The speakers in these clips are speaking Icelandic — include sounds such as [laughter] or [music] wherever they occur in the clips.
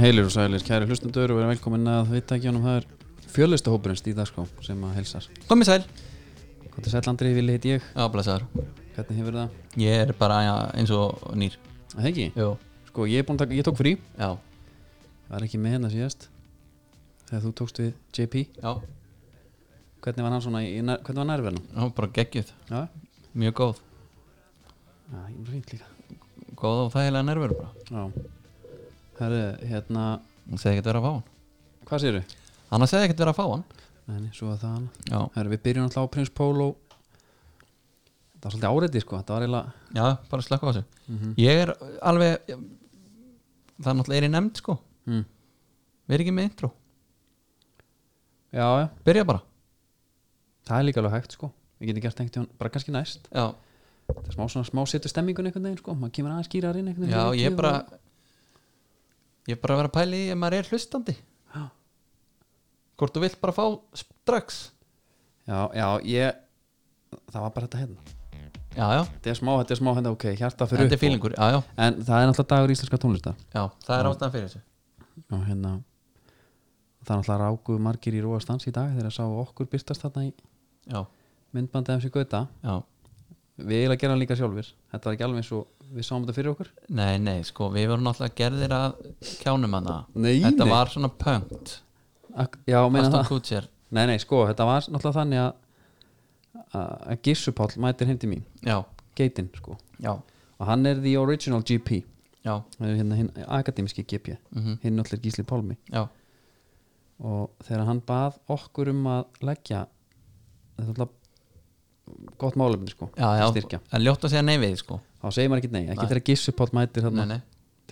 Heilir og sælir, kæri hlustendur og verið velkomin að viðtækjunum það er fjölista hópurinn Stíð Daskó sem að helsar Komið sæl Hvað er sæl Andri, Vili heiti ég, Já, blæsaður hvernig hefur það? Ég er bara ja, eins og nýr Að það ekki? Jó Sko, ég er búin að taka, ég tók frí Já, Var ekki með hérna síðast Þegar þú tókst við JP já, Hvernig var hann svona, í, nær- hvernig var nærverðan? já bara geggjuð Já, Mjög góð já, ég var fínt líka Góð og þægilega nervur bara Já Herru, hérna, Hann segði ekkert vera að fá hann hvað séru? Hann segði ekkert vera að fá hann Nei, svo að það hana Já, Herru, við byrjum alltaf á Prins Pólo Það var svolítið áreiti sko, þetta var eiginlega já, bara slakka á þessu Ég er alveg Það er náttúrulega er í nefnd sko mm. Við erum ekki með intro Já, já, Byrja bara það er líka alveg hægt sko Við getum gert tengt í bara kannski næst Já, það er smá svona smá setur stemmingun einhvern veginn sko maður kemur aðeins skýrar inn einhvern já veginn ég er bara Ég er bara að vera að pæli Ef maður er hlustandi Já. Hvort þú vilt bara fá strax já, já, ég það var bara þetta hérna Já, já, þetta er smá, þetta er smá hérna, ok, hjarta fyrir þetta er fílingur Já, já, en það er náttúrulega dagur íslenska tónlistar já, það er ástæðan fyrir þessu og hérna það er náttúrulega rákuð margir í róastans í dag þegar að sá okkur byrtast þarna í Já, myndbandi af sér gauta já, við eiginlega gerum hann líka sjálfur þetta var ekki alveg eins og við sáum þetta fyrir okkur nei, nei, sko Við vorum náttúrulega gerðir að kjánum hana Nei, Þetta nei. var svona pöngt Ak já, meina Aston það Kutcher nei, nei, sko, þetta var náttúrulega þannig að að- að Gissupáll mætir heim til mín Já, geitinn, sko já, og hann er the original GP já, Það er hérna hinn akademiski GP mhm, hinn allir Gísli Pálmi já, og þegar hann bað okkur um að leggja þetta er alltaf gott málefni sko já, já styrkja, En ljótt að segja nei við, því, sko þá segir maður ekki nei ekki Nei. þegar Gísli Pál mætir Nei, þarna nei,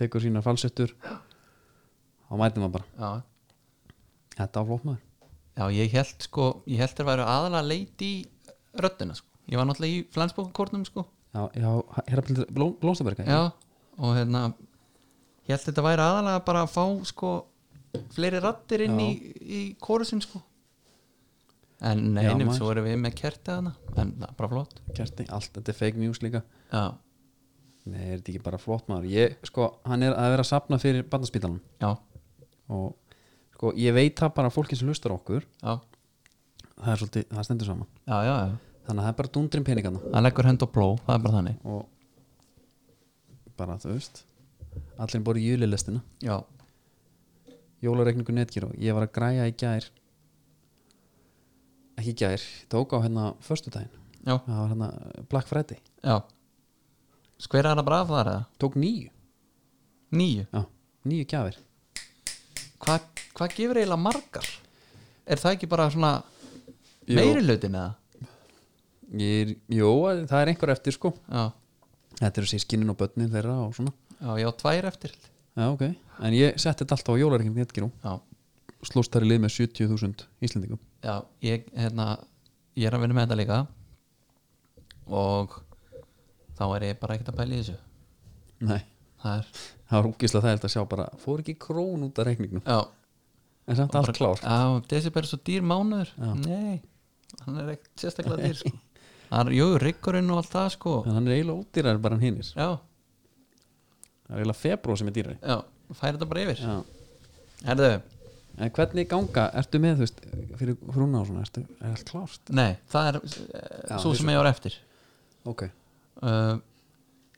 tekur sína falsettur þá mætir maður bara, já þetta á flott maður Já, ég held sko, ég held þeir væru aðalega leit í röddina sko. Ég var náttúrulega í flensbókakornum sko. já, já, hérna Bló, Blómstaberga Já, og hérna ég held þetta væri aðalega bara að fá sko, fleiri rattir inn Já. í, í kórusin sko. En Já, neynum, maður. svo erum við með kertið hana en það er bara flott kerti, allt, þetta er fake news líka Já, nei, er þetta ekki bara flott maður ég, sko, hann er að vera að sapna fyrir barnaspítalann já, og sko, ég veit það bara að fólki sem hlustar á okkur já, það er svolítið, það stendur saman já, já, já. þannig að það er bara dundrin peningarna Hann leggur hend á pló, það er bara þannig og bara þú veist allir bóri júlilestina Já, jólareikningu netgíru ég var að græja í gær ekki í gær, ég tók á hérna föstudaginn, já, það var hérna Black Friday, já Skvera hana bara af þar eða? tók nýju Nýju já, nýju gjafir Hva, Hvað gefur eiginlega margar? Er það ekki bara svona Jú. meiri hlutin eða? ég er, jú, það er einhver eftir sko Já, þetta eru sískinin og börnin þeirra og svona já, já, tvær eftir já, ok, en ég setti þetta alltaf á jólareikningu netgíru Já, slóst þar í lið með 70.000 íslendingum já, ég, hérna, ég er að vinna með þetta líka og þá er ég bara ekkert að pæla í þessu nei, það er, það var úkislega það að sjá bara, fór ekki krón út af reikningnum já, en samt allt klár já December er svo dýr mánuður Já. nei, hann er ekkert sérstaklega dýr sko. [laughs] hann er, jú, ryggurinn og allt það sko, en hann er eiginlega ódýrar bara en hinnir já, það er eiginlega februar sem er dýrari já færi þetta bara yfir Já. herðu, en hvernig ganga, ertu með þú veist fyrir frúna og svona, ertu, er allt klárt nei, það er Já, já, svo þessu. sem ég var eftir ok, uh,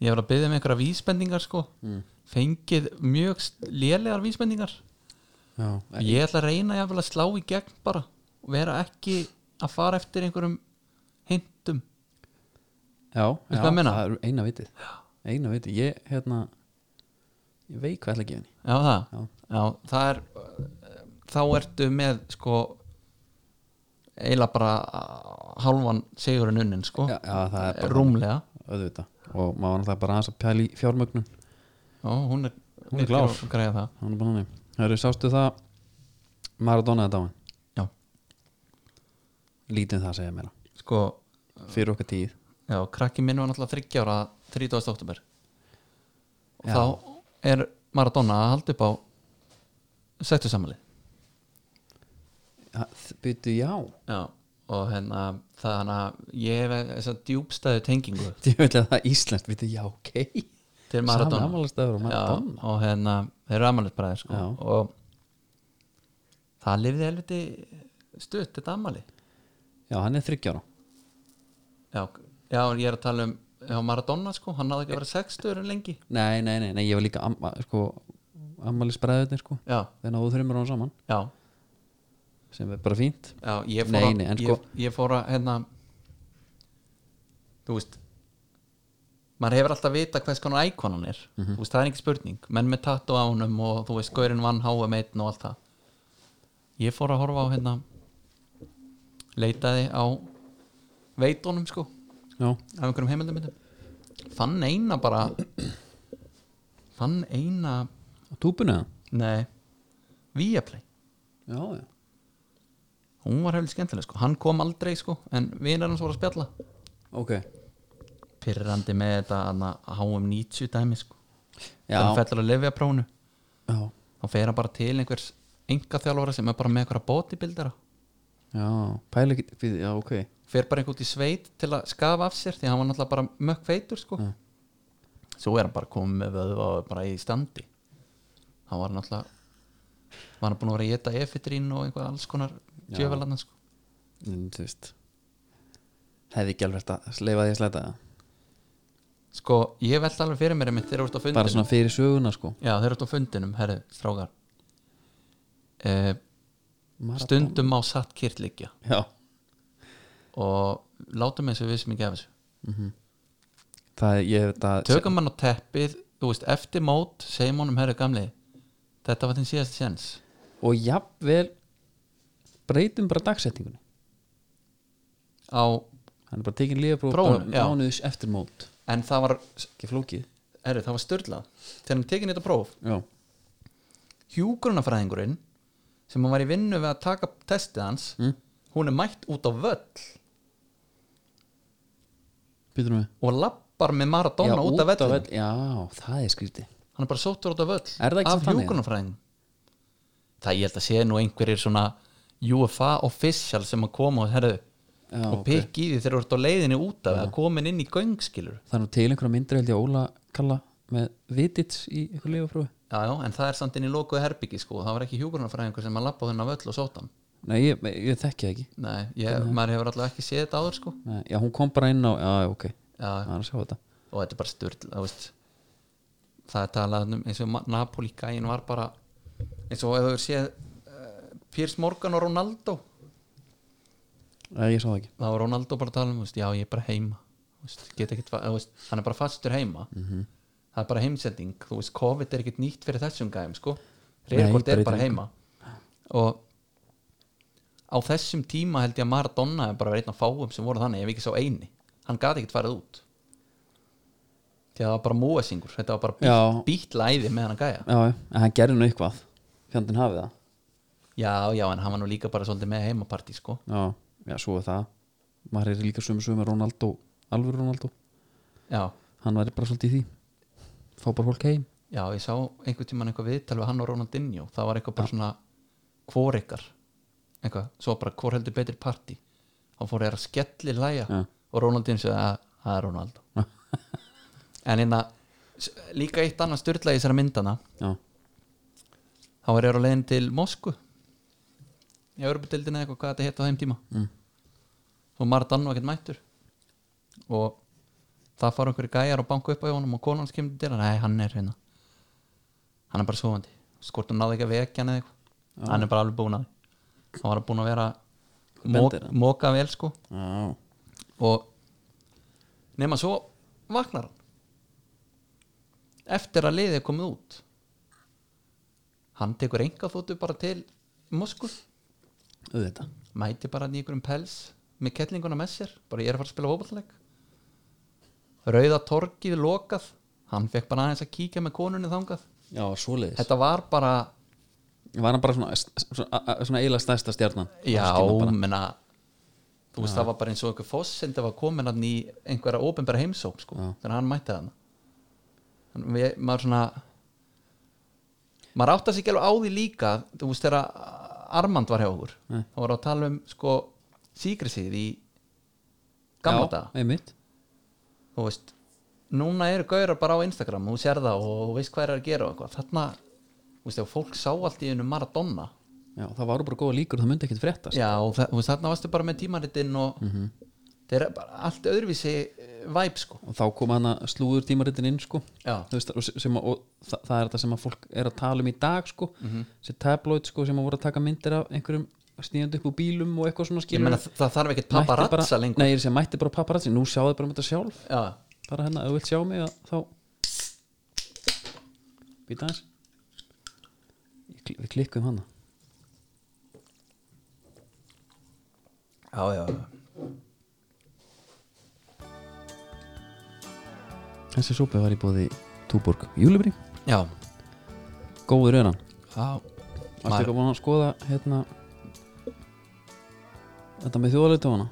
ég var að byggja með einhverja vísbendingar sko, Mm. fengið mjög s- lélegar vísbendingar já, ég, Ég ætla að reyna jafnvel að slá í gegn bara og vera ekki að fara eftir einhverjum hintum já, já Veistu hvað ég meina? það er eina vitið eina vitið, ég hérna ég veik hvað ég ætla að gefa henni Já það, Já. það er uh, þá ertu með sko eiginlega bara uh, hálfan sigurinn unnin sko já, já, það er bara rúmlega auðvitað og maður var náttúrulega bara aðeins að pæla í fjármögnun Já, hún er, Hún er klár. að græja það hann er bara hann Hörru, sástu það Maradona þetta á hann Já, lítið um það að segja mér sko, fyrir okkar tíð já, krakki minn var náttúrulega 30 ára 30. oktober og Já. þá er Maradona að halda upp á sættu samanlið byttu já Já, og hérna þannig að ég hef þessa djúbstæðu tengingu ég veit að það er íslenskt, byttu já, ok til Sami Maradona afmælastafur og Maradona Já, og hérna, þeir eru afmælisbræðir sko. Já. og það lifði helviti stutt þetta afmæli Já, hann er þryggjára já, já, en ég er að tala um já, Maradona, sko, hann hafði ekki að vera sextur en lengi Nei, nei, nei, nei, ég var líka amma, sko, ammælisbræðurnir sko já, þegar náðu þreymur án saman já, sem er bara fínt já ég fór Nei, að nei, en sko- ég, ég fór að, hérna þú veist maður hefur alltaf vita hvers konar íkon hann er Mhm. þú veist, það er ekki spurning, menn með tattu á honum og þú veist, gaurinn vann háa meitin og allt það ég fór að horfa á hérna leitaði á veitunum sko Já, af einhverjum heimildum myndum fann eina bara fann eina á túpunni eða? nei, Viaplay Já, já, hún var hefðið skemmtileg sko, hann kom aldrei sko en vinar hans voru að spjalla ok pyrrandi með þetta hana, HM 90 dæmi sko Já, þegar hann fellur að lifja prónu já, þá fer hann bara til einhvers enga þjálfara sem er bara með einhverja bodybuildera já, pæla ekki fyrir- Já, ok, fer bara einhvern út í sveit til að skafa af sér því hann var náttúrulega bara mökk feitur sko Já. svo er hann bara komið með vöðva og er bara í standi hann var náttúrulega var hann búin að vera að geta efitrín og einhver alls konar Já. djöfalarnar sko en þú veist hefði ekki alveg að sleifa því að slæta það. sko ég veldi alveg fyrir mér einmitt þegar þú ert á bara fundinum svona fyrir söguna sko já þeir eru á fundinum herðu strákar eh, Maradona. stundum má satt kýrt liggja Já, og látum eins og við sem ekki af þessu það er, ég hef þetta tökum hann á teppið þú veist, eftir mót, segjum honum herru gamli þetta var þinn síðast sjens og jafnvel breytum bara dagsetningunni á, hann er bara tekin liðapróf Prófinu, bara já. mánuðis eftir mót en það var ekki flókið herru, það var styrlað þegar hann tekin þetta próf, já, hjúgrunafræðingurinn sem hann var í vinnu við að taka testið hans Mm. hún er mætt út á völl býtum við og lappar með Maradona já, út af vellin vell- já, það er skrýti hann er bara sóttur út af völl Er það ekki af samt þannig? hjúgrunafræðing það ég held að sé nú einhverjir svona UFA official sem að koma og herðu já, og ok. pikk í því þegar þú ert á leiðinni út af eða komin inn í göngskilur það er nú til einhverja myndri held ég Óla kalla með vitits í einhver liðaprófi já, já, en það er samt inn í lokuðu herbyggi sko, það var ekki hjúgrunarfræðingur sem að lappa þennan völl og sótan nei, ég, ég þekki það ekki nei, ég, maður hefur allavega ekki séð þetta áður sko nei, já, hún kom bara inn á, já, já, ok já, það er að sjá þetta og þetta er bara styrl það, veist, það er talað um eins og Ma- Napoli gæin var bara eins og ef þú hefur séð uh, Piers Morgan og Ronaldo nei, ég sá það ekki þá var Ronaldo bara að tala um, þú veist, já ég er bara heima Þú veist, get ekkit, fa- þú veist, hann er bara fastur heima -hmm. það er bara heimsending þú veist, COVID er ekkit nýtt fyrir þessum gæm sko. Reykjavík er breytir bara engu. heima og á þessum tíma held ég að Maradona er bara verið einn af fáum sem voru þannig ef ekki sá eini, hann gati ekkit farið út því að það var bara múasingur þetta var bara bít, já, bítlæði með hann að gæja já, já, en hann gerði nú eitthvað fjandinn hafið það já, já, en hann var nú líka bara svolítið með heimapartí sko. já, já, svo er það maður er líka sömu sömu með Ronaldo alvöru Ronaldo, já, hann væri bara svolítið í því fá bara fólk heim Já, ég sá einhvern tímann eitthvað viðtal við hann og Ronaldinho það var eitthvað bara svona hvor ykkar eitthvað, svo bara hvor heldur betri parti og fór þeirra skelli læja Já. og Ronaldinho segði að það er Ronaldo en hérna s- líka eitt annað styrla í þessara myndana já, þá var ég á leiðin til Mosku í Örbudildinu eitthvað hvað þetta hétt á þeim tíma Mm. og Maradona var ekkert mættur og það fara einhverju gæjar og banku upp á honum og konan hans kemur til hann, nei hann er hérna hann er bara sofandi skort hún náði ekki að vekja hann eða eitthvað hann er bara alveg búin að því hann var búin að vera mok, Bendir hann. moka vel sko já, og nema svo vaknar hann eftir að liðið er komið út hann tekur enga þóttu bara til Moskú auðvitað mæti bara hann í einhverjum pels með kettlinguna með sér, bara ég er að fara að spila hópaðleik rauða torkið lokað, hann fekk bara aðeins að kíkja með konunni þangað já, svoleiðis þetta var bara, var hann bara svona, svona, a- a- svona eila stærsta stjarnan já, Skilur bara. menna þú veist það var bara eins og einhver foss sem það var komin hann í einhverja ópenbæra heimsók sko, Já. þannig að hann mætti hann við, maður svona maður átti að sig ekki alveg á því líka þú veist þegar Armand var hjá okkur Nei. þá var að tala um sko síkrisið í gamla daga já, einmitt þú veist núna eru gaurar bara á Instagram þú sér það og þú veist hvað er að gera og eitthvað þarna, þú veist, ef fólk sá allt í einu Maradona Já, það voru bara góða líkur, það myndi ekkert fréttast Já, og það, þú veist, þarna varstu bara með tímaritinn og mm þeir eru bara allt öðruvísi eh, væp sko og þá kom hana slúður tímaritin inn sko Já. Þú veist, og, sem, að- og það, það er þetta sem að fólk er að tala um í dag sko Mhm. þessi tabloid sko sem að voru að taka myndir af einhverjum stíðandi upp úr bílum og eitthvað svona Ég skilur meina það þarf ekkert paparazza lengur Nei, ég er að segja, mætti bara paparazzi, nú sjáðu bara um þetta sjálf Já, bara hérna, ef þú vilt sjá mig að þá býta aðeins Ég kl- við klikkum hana já, já, já. þessi súpi var í bóði Túborg Júlibri, Já, góður öðran já. Varstu eitthvað búin að skoða hérna þetta með þjóðalegtofana?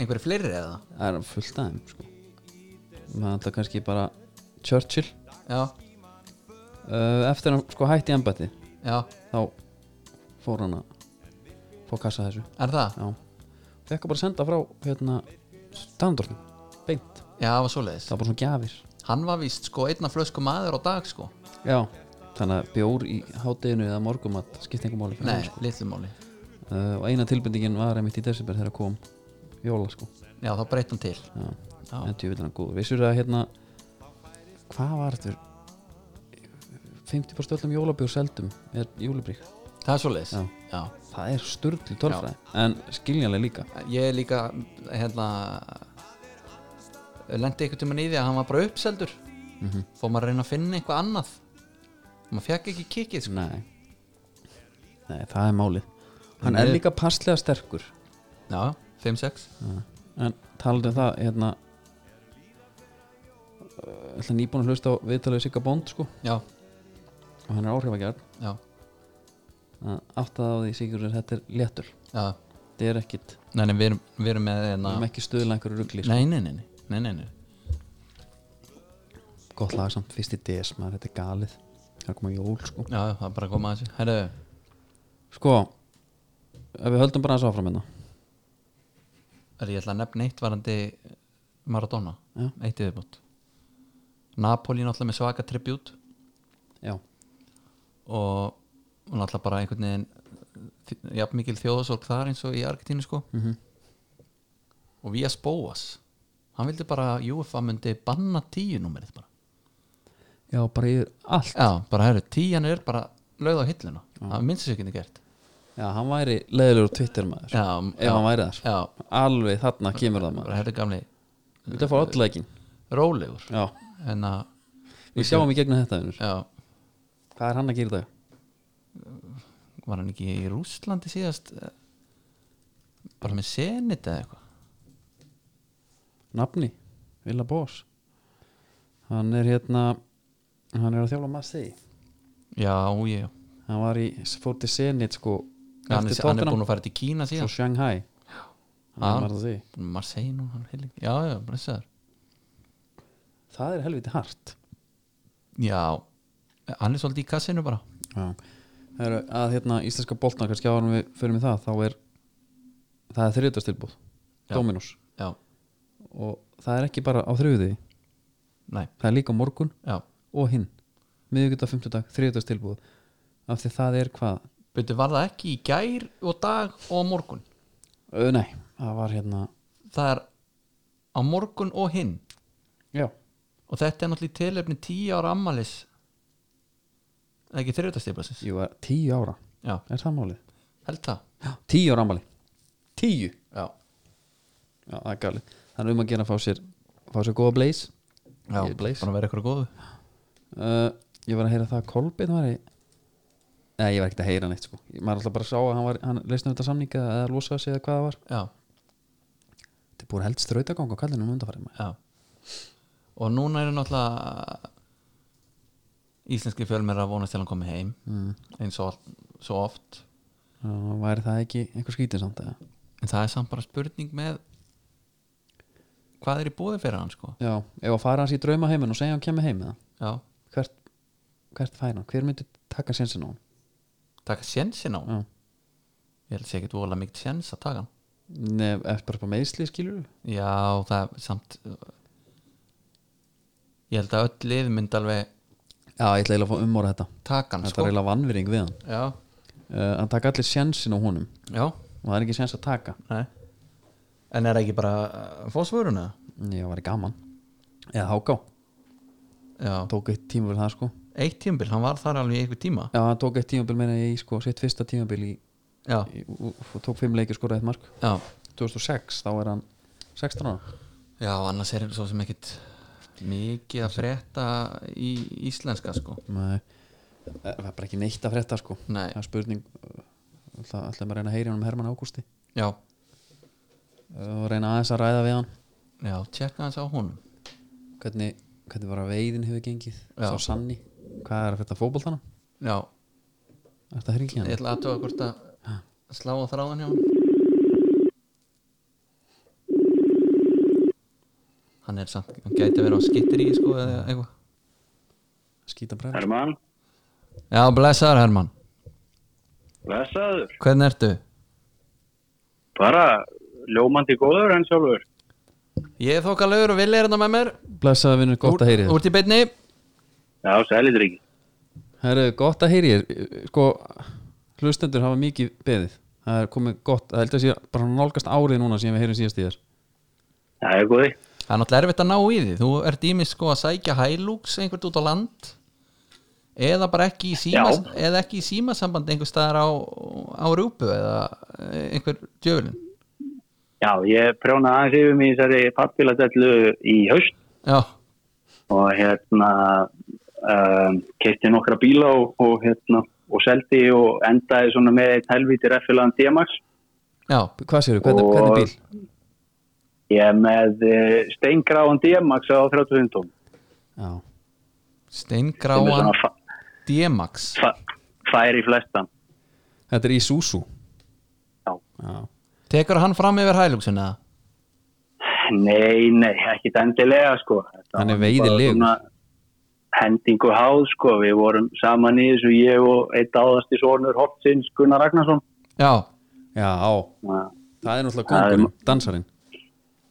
einhverju fleiri eða? Það er fullt af þeim sko. Maður þetta kannski bara Churchill Já, uh, Eftir hann sko hætti embætti já, Þá fór hann að Fá kassa þessu er það? Já Fekka bara að senda frá hérna Dandornum Beint Já, það var svoleiðis Það var bara svona gjafir Hann var víst sko einna flösku maður á dag sko Já Þannig að bjór í hátteginu eða morgum að skipta einhver máli fyrir Nei, hann, sko. litlu máli uh, Og eina tilbendingin var einmitt í desember þegar kom Jóla sko Já, þá breytt hann til Já, Já. en djúvill er hann góður Vissur að hérna Hvað var þetta 50% öllum jólabjór seldum er júlibrík Það er svoleiðis Já. já. Það er sturglu tölfræði En skiljanlega líka Ég er líka hérna lendi einhvern tímann í því að hann var bara uppseldur mm -hmm. fór maður að reyna að finna eitthvað annað maður fekk ekki kikið sko. Nei Nei, það er málið Hann En er er- líka passlega sterkur já, 5-6 En talandi um það hérna uh, ætla nýbúin að hlusta á viðtalið Sigga Bond sko já, og hann er áhrifagjarn já, áttaði á því Sigurður að þetta er léttul já þetta er ekkit nei, nei, við, erum, við erum með við hérna erum ekki stuðla einhverju rugli sko. nei, nei, nei, nei, nei, nei, nei. gott lag samt fyrst í DS maður þetta er galið það er að koma jól sko já, já, það er bara að koma að þessu Herru, sko ef við höldum bara aðeins áfram hérna er ég ætla að nefna eitt varandi Maradona Já. eitt í viðbútt Napoli náttúrulega með svaka tribut já og og náttúrulega bara einhvern veginn þi- jafn mikil þjóðasorg þar eins og í Argentínu sko Mhm. og Vías Bóas hann vildi bara að UFA myndi banna tíu númerið bara já bara yfir allt já, bara herru, tíjan er bara lögð á hilluna það minnst þessu ekki niður gert já hann væri leiðilegur Twitter maður já, ef hann væri það sko. já, alveg þarna kemur það maður bara herru gamli við þetta fór alllegin rólegur já en að, við sjáum í gegnum þetta vinur já, hvað er hann að gera í dag var hann ekki í Rússlandi síðast eh, bara með senit eða eitthvað nafni Villa Boss hann er hérna hann er að þjála maður segi já, já, já. hann var í fór til Senit sko Hann, er, eftir hann er Tottenham, búin að fara til Kína síðan svo Shanghai Já. hann var það því Marseille nú, hann heilig Já, já, blessaður það er helviti hart Já, hann er svolítið í kassinu bara Já. Það eru að hérna íslenska boltan kannski árum við fyrir með það þá er það er þriðutastilbúð Já. Dominos Já, og það er ekki bara á þriðuði nei, það er líka á morgun já og hinn miðvíkuta, fymtudag, þriðutastilbúð af því það er hvað Byrju, var það ekki í gær og dag og á morgun Ö, nei, það var hérna Það er á morgun og hinn já, Og þetta er náttúrulega í tilefni tíu ára ammalis Það er ekki þriðutastiplasins jú, er tíu ára Já, er það málið? held það Já, tíu ára ammali tíu, Já, já, það er galið það er um að gera að fá sér fá sér góða blaze já, Ég er Blaze. bara að vera ykkur góðu uh, ég var að heyra það að Kolbeinn var í Nei, ég var ekkert að heyra neitt sko Ég- maður alltaf bara sá að hann, var, hann leysna þetta samninga eða losaði sig eða hvað það var Já, þetta er búin held strautagang á kallinu um undanfæri já Og núna eru náttúrulega Íslenski fjölmer að vonast til að hann komi heim mm. eins og svo oft og væri það ekki einhver skítið samt eða en það er samt bara spurning með hvað er í búði fyrir hann sko já, ef að fara hans í draumaheimin og segja hann kemur heim eða já, hvert, hvert fær hann, hver myndi taka sénsinn á hann taka sjensin á hann Já. ég held sé ekkit vola mikið sjens að taka hann Nef, eftir bara meðsli skilur já, það er samt ég held að öll lið myndi alveg Já, ég ætla eiginlega að fá umorða þetta taka hann Þetta sko er eiginlega vannvýring við hann já, uh, Hann taka allir sjensin á honum já, og það er ekki sjens að taka nei en er ekki bara uh, fósfóruna? Já, það var gaman Eða háká, já, hann tók eitt tímabil það sko eitt tímabil, hann var þar alveg í einhver tíma Já, hann tók eitt tímabil meina ég í sko sitt fyrsta tímabil í, já, í, og, og tók fimm leikir skoraði eitt mark já, 2006, þá er hann 16 ára já annars er svo sem ekkit mikið að frétta í íslenska sko Nei, það er bara ekki neitt að frétta sko nei, Það er spurning Það ætlaði maður að reyna að heyra hann um Hermann Ágústi já, uh, og reyna aðeins að ræða við hann já, tjekka hans á honum hvernig, hvernig bara veiðin hefur gengið Já. sá Sanni, hvað er að fyrta fótboltana já, er þetta hringi ég hann? ætla að tóa hvort að slá á þráðan hjá honum hann er samt, hann gæti að vera á skittir í sko eða eitthvað skýta bræður Herman, já, blessaður Herman, blessaður. hvernig ertu? Bara ljómandi góður en sjálfur. ég er þokkalegur og vilja er hérna með mér blessaði vinnur, gott að heyri Úr- þér Úrt í beinni Já, sælitur ekki. herru, gott að heyri þér sko, hlustendur hafa mikið beðið það er komið gott, það held að sé bara nálgast árið núna sem við heyrum síðast í þér Já, ég er góði. Það er náttúrulega erfitt að ná í því Þú ert ímið sko að sækja hælúks einhvert út á land eða bara ekki í síma Já. eða ekki í símasambandi einhver staðar á, á rúpu eða eh, einhver djöfulin Já, ég prjónaði aðeins yfir mig í þessari pappíladellu í haust Já, og hérna um, keitti nokkra bíla og, og hérna og seldi og endaði svona með eitt helvítir effilaðan D-Max. já, hvað séru, hvernig, Og- hvernig bíl? Ég er með eh, steingráan D-Max á 35 tón. já, Sem er steingráan svona fa- D-Max fa- færi flestan. þetta er Isuzu Já. já, Tekur hann fram yfir hælúksin eða? Nei, nei, ekki endilega sko. Þetta Hann er var veiðilegur. bara svona Hendingu háð sko, við vorum saman í þessu, ég og eitt áðasti sonur Hortsins Gunnar Ragnarsson. Já, já, á. Þannig að- það er náttúrulega Það er- kongurinn, dansarinn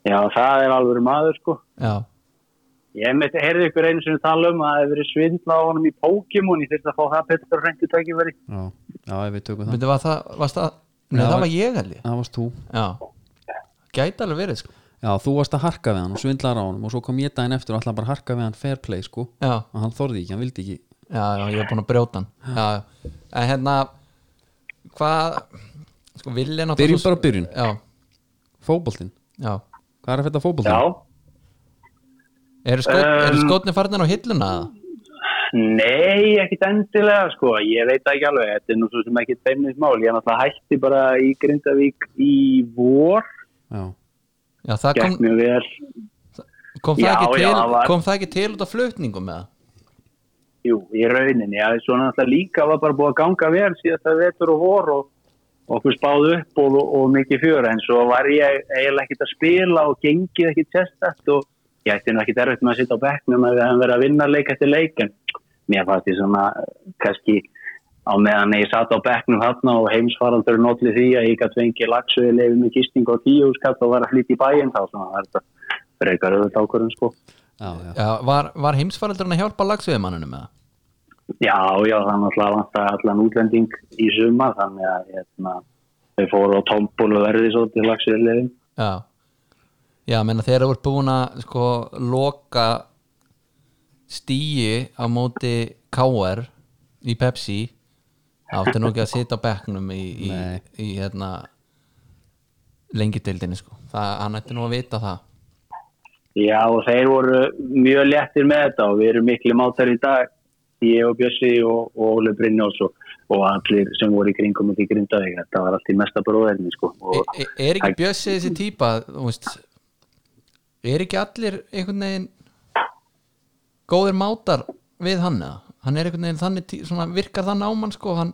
Já, það er alveg maður sko. já, Ég með heyrði ykkur einu sinni tala um að það hefur verið svindla á honum í Pokémon, ég þurfti að fá það betur að reyndu tækifæri. já, já, ef við tökum það myndi var það, varst það Nei, Já, það var- var ég held ég það varst þú Já, gæti alveg verið sko Já, þú varst að harka við hann og svindlar á hann og svo kom ég daginn eftir og alltaf bara að harka við hann fair play sko Já, og hann þorði ekki, hann vildi ekki já, já, ég er búin að brjóta hann já, já. en hérna hvað sko vilja náttúrulega Byrjum bara á byrjun. já, Fóboltinn, já. hvað er að fæta Já, fóboltinn? eru, skot, Um, eru skotni farnir á hilluna eða? nei, ekki endilega sko, ég veit það ekki alveg, þetta er nú svo sem ekki teimnins mál. Ég er náttúrulega hætti bara í Grindavík í vor, Já, já, það kom, gekk mjög vel. kom, það Já, ekki já, til, það var- kom það ekki til út af flutningum eða? Jú, í rauninni, já, svona alltaf líka var bara búið að ganga vel síðast að vetur og vor og og okkur spáðu upp og, og, og mikið fjör en svo var ég eiginlega ekkert að spila og gengið ekkert sérstætt og ég ætti nú ekkert erfitt með að sitja á bekknum að við hefum verið að vinna leik eftir leik en mér fannst ég svona eh, kannski á meðan ég satt á bekknum þarna og heimsvarandur notli því að ég gætt fengið lagsuði leifið með gisting og tíu skatt og var að flytja í bæinn þá svona var þetta frekar auðvitað ákvörðum sko. já, já, Já, var, var heimsfaraldurinn að hjálpa lagsviðmannunum eða? Já, já, þannig að það vantar allan útlending í sumar, þannig að hérna, þau fóru á tombol og verði svo til lagsveðliðin. já já, menna þegar þú ert búin að sko loka stíi á móti KR í Pepsi áttu nú ekki að sitja á bekknum í, í, Nei. í hérna lengjadeildinni sko það, hann ætti nú að vita það Já, og þeir voru mjög léttir með þetta og við erum miklu mátar í dag, ég og Bjössi og, og Óli Brynjóls og, og allir sem voru í kringum og í grindaði, þetta var allt í mesta bróðerni, sko. e, Og, e, er ekki Bjössi þessi típa þú veist er ekki allir einhvern veginn góðir mátar við hann eða hann er einhvern veginn þannig tí, svona, virkar þann á mann sko hann,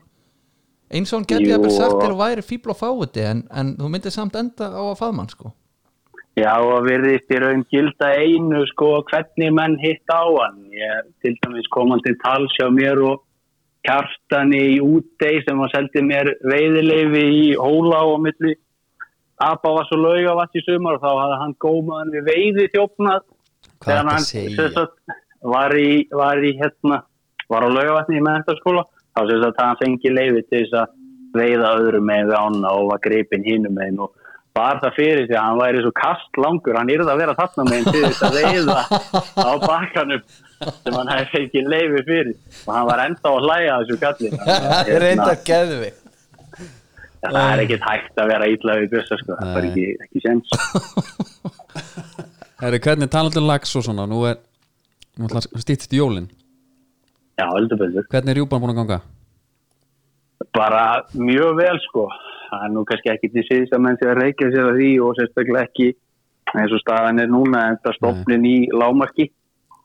eins og hann geti Jú, það bara sagt og- þér og væri fíbl og fáiði en, en þú myndir samt enda á að faðmann sko já, og virðist í raun gilda einu, sko, hvernig menn hitt á hann. Ég, til dæmis kom hann til tals hjá mér og kjartan í útdei sem hann seldi mér veiðileifi í hóla og á milli Abavass og Laugavass í sumar og þá hafði hann gómaðan við veiði þjófnað hvað er þetta að segja? sagt, var í, var í hérna, var á laugavatni í meðandarskóla, þá sem þess að hann fengi leiði til þess að veiða öðrum meginn við ána og var greipinn hinum meginn og var það fyrir því að hann væri svo kast langur, hann yrði að vera þarna meginn til þess að veiða á bakkanum sem hann hefði fengið leiði fyrir og hann var ennþá að hlæja að þessu kallin [laughs] Það er reynda geðvi Hérna, það er ekkit hægt að vera illa við bussa sko, það er Nei. ekki, ekki sens Herri, hvernig talandur lags og svona Nú er nú ætlar- styttist í jólin já, heldur betur Hvernig er rjúpan búin að ganga? bara mjög vel sko það er nú kannski ekki til síðs að menn sé að reykja sér að því og sérstaklega ekki eins og staðan er núna en það stopnin í lámarki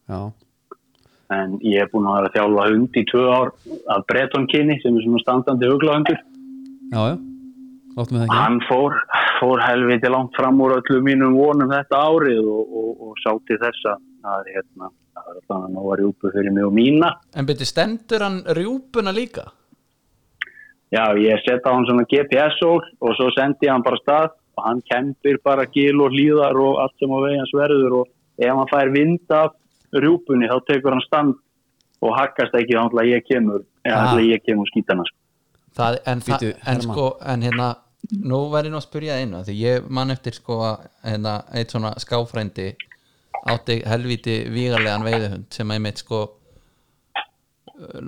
Já, en ég er búin að vera að þjálfa hund í tvö ár af bretonkinni sem er svona standandi huglahundur já, já Láttum við það ekki hann fór, fór helviti langt fram úr öllum mínum vonum þetta árið og, og, og sátti þess að það er hérna það er alltaf að nóga rjúpu fyrir mig og mína En byrju, stendur hann rjúpuna líka? Já, ég setja hann svona GPS-ól og svo sendi ég hann bara stað og hann kempir bara gil og hlýðar og allt sem á vegi hans verður og ef hann fær vind af rjúpunni þá tekur hann stand og hakkast ekki þá ætla ég kemur, eða Ah. ætla ég kemur skítana sko. Það, en, það, Bíddu, en Hermann. sko, en hérna nú verð ég nú að spyrja þig einu af því ég man eftir sko að hérna, eitt svona skáfrændi átti helviti vígarlegan veiðihund sem einmitt sko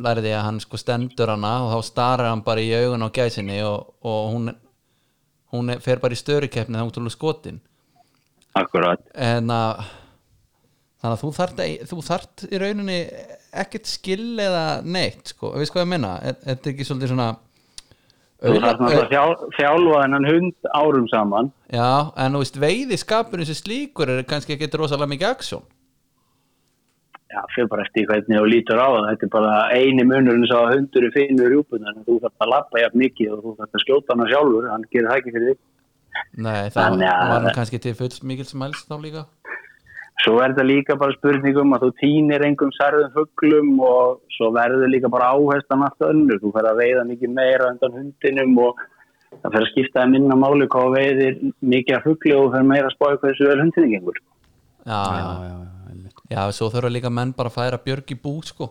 læriði að hann sko stendur hana og þá starar hann bara í augun á gæsinni og, og hún hún er- fer bara í störukeppni þá hún til skotin Akkurat. en að þannig að þú þart, þú þart í rauninni ekkert skill eða neitt sko, við sko ég menna er, er þetta ekki svolítið svona Þú þarf náttúrulega að þjál- þjálfa þennan hund árum saman. Já, en þú veist, veiði skapurinn sem slíkur er kannski ekki rosalega mikið aksjón Já, fyrir bara eftir hvernig þú lítur á það. Þetta er bara eini munurinn sá að hundur er finnur rjúpunar en þú þarf að lappa jafn mikið og þú þarf að skjóta hana sjálfur, hann gerir það ekki fyrir þig. Nei, það Þannig að- var nú kannski til fulls mikil smælst þá líka Svo er þetta líka bara spurningum að þú týnir engum særðum fugglum og svo verður líka bara áherslan allt önnur. Þú fer að veiða mikið meira undan hundinum og það fer að skipta að minna máli hvað þú veiðir mikið af fuggli og þú fer meira að spája hversu vel hundinu gengur. Já, Já, já, já, já, einmitt já, svo þurfa líka menn bara að færa björg í bú, sko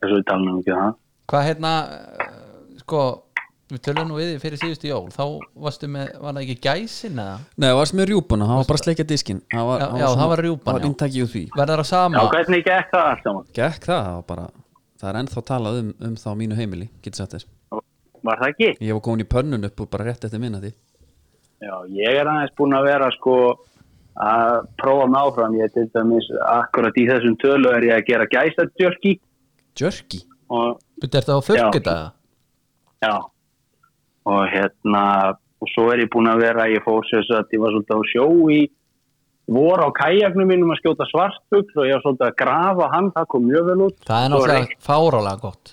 Þessu við talum um ekki það. Hvað hérna, eh, sko við tölum nú við þig fyrir síðustu jól þá varstu með, var það ekki gæsin eða Nei, það varst með rjúpuna, það var bara að sleikja diskin það var, Já, já, það var rjúpan, Það var já. inntækið úr því verðar á Já, sama hvernig gekk það allt saman? Gekk það, það var bara Það er ennþá talað um, um það á mínu heimili, getur sagt þér Var það ekki? Ég var komin í pönnun upp og bara rétt eftir minna því Já, ég er aðeins búin að vera sko að prófa mig áfram. Ég er til dæmis akkurat í þessum tölu er ég að gera gæstadjörki Jerky? og Þetta er það á þurrkitaða Já, og hérna, og svo er ég búin að vera, ég fór sér svo að ég var svolítið á sjó í vor á kajaknum mínum að skjóta svartfugl og ég var svolítið að grafa hann, það kom mjög vel út. Það er Svo reykt- náttúrulega fárálega gott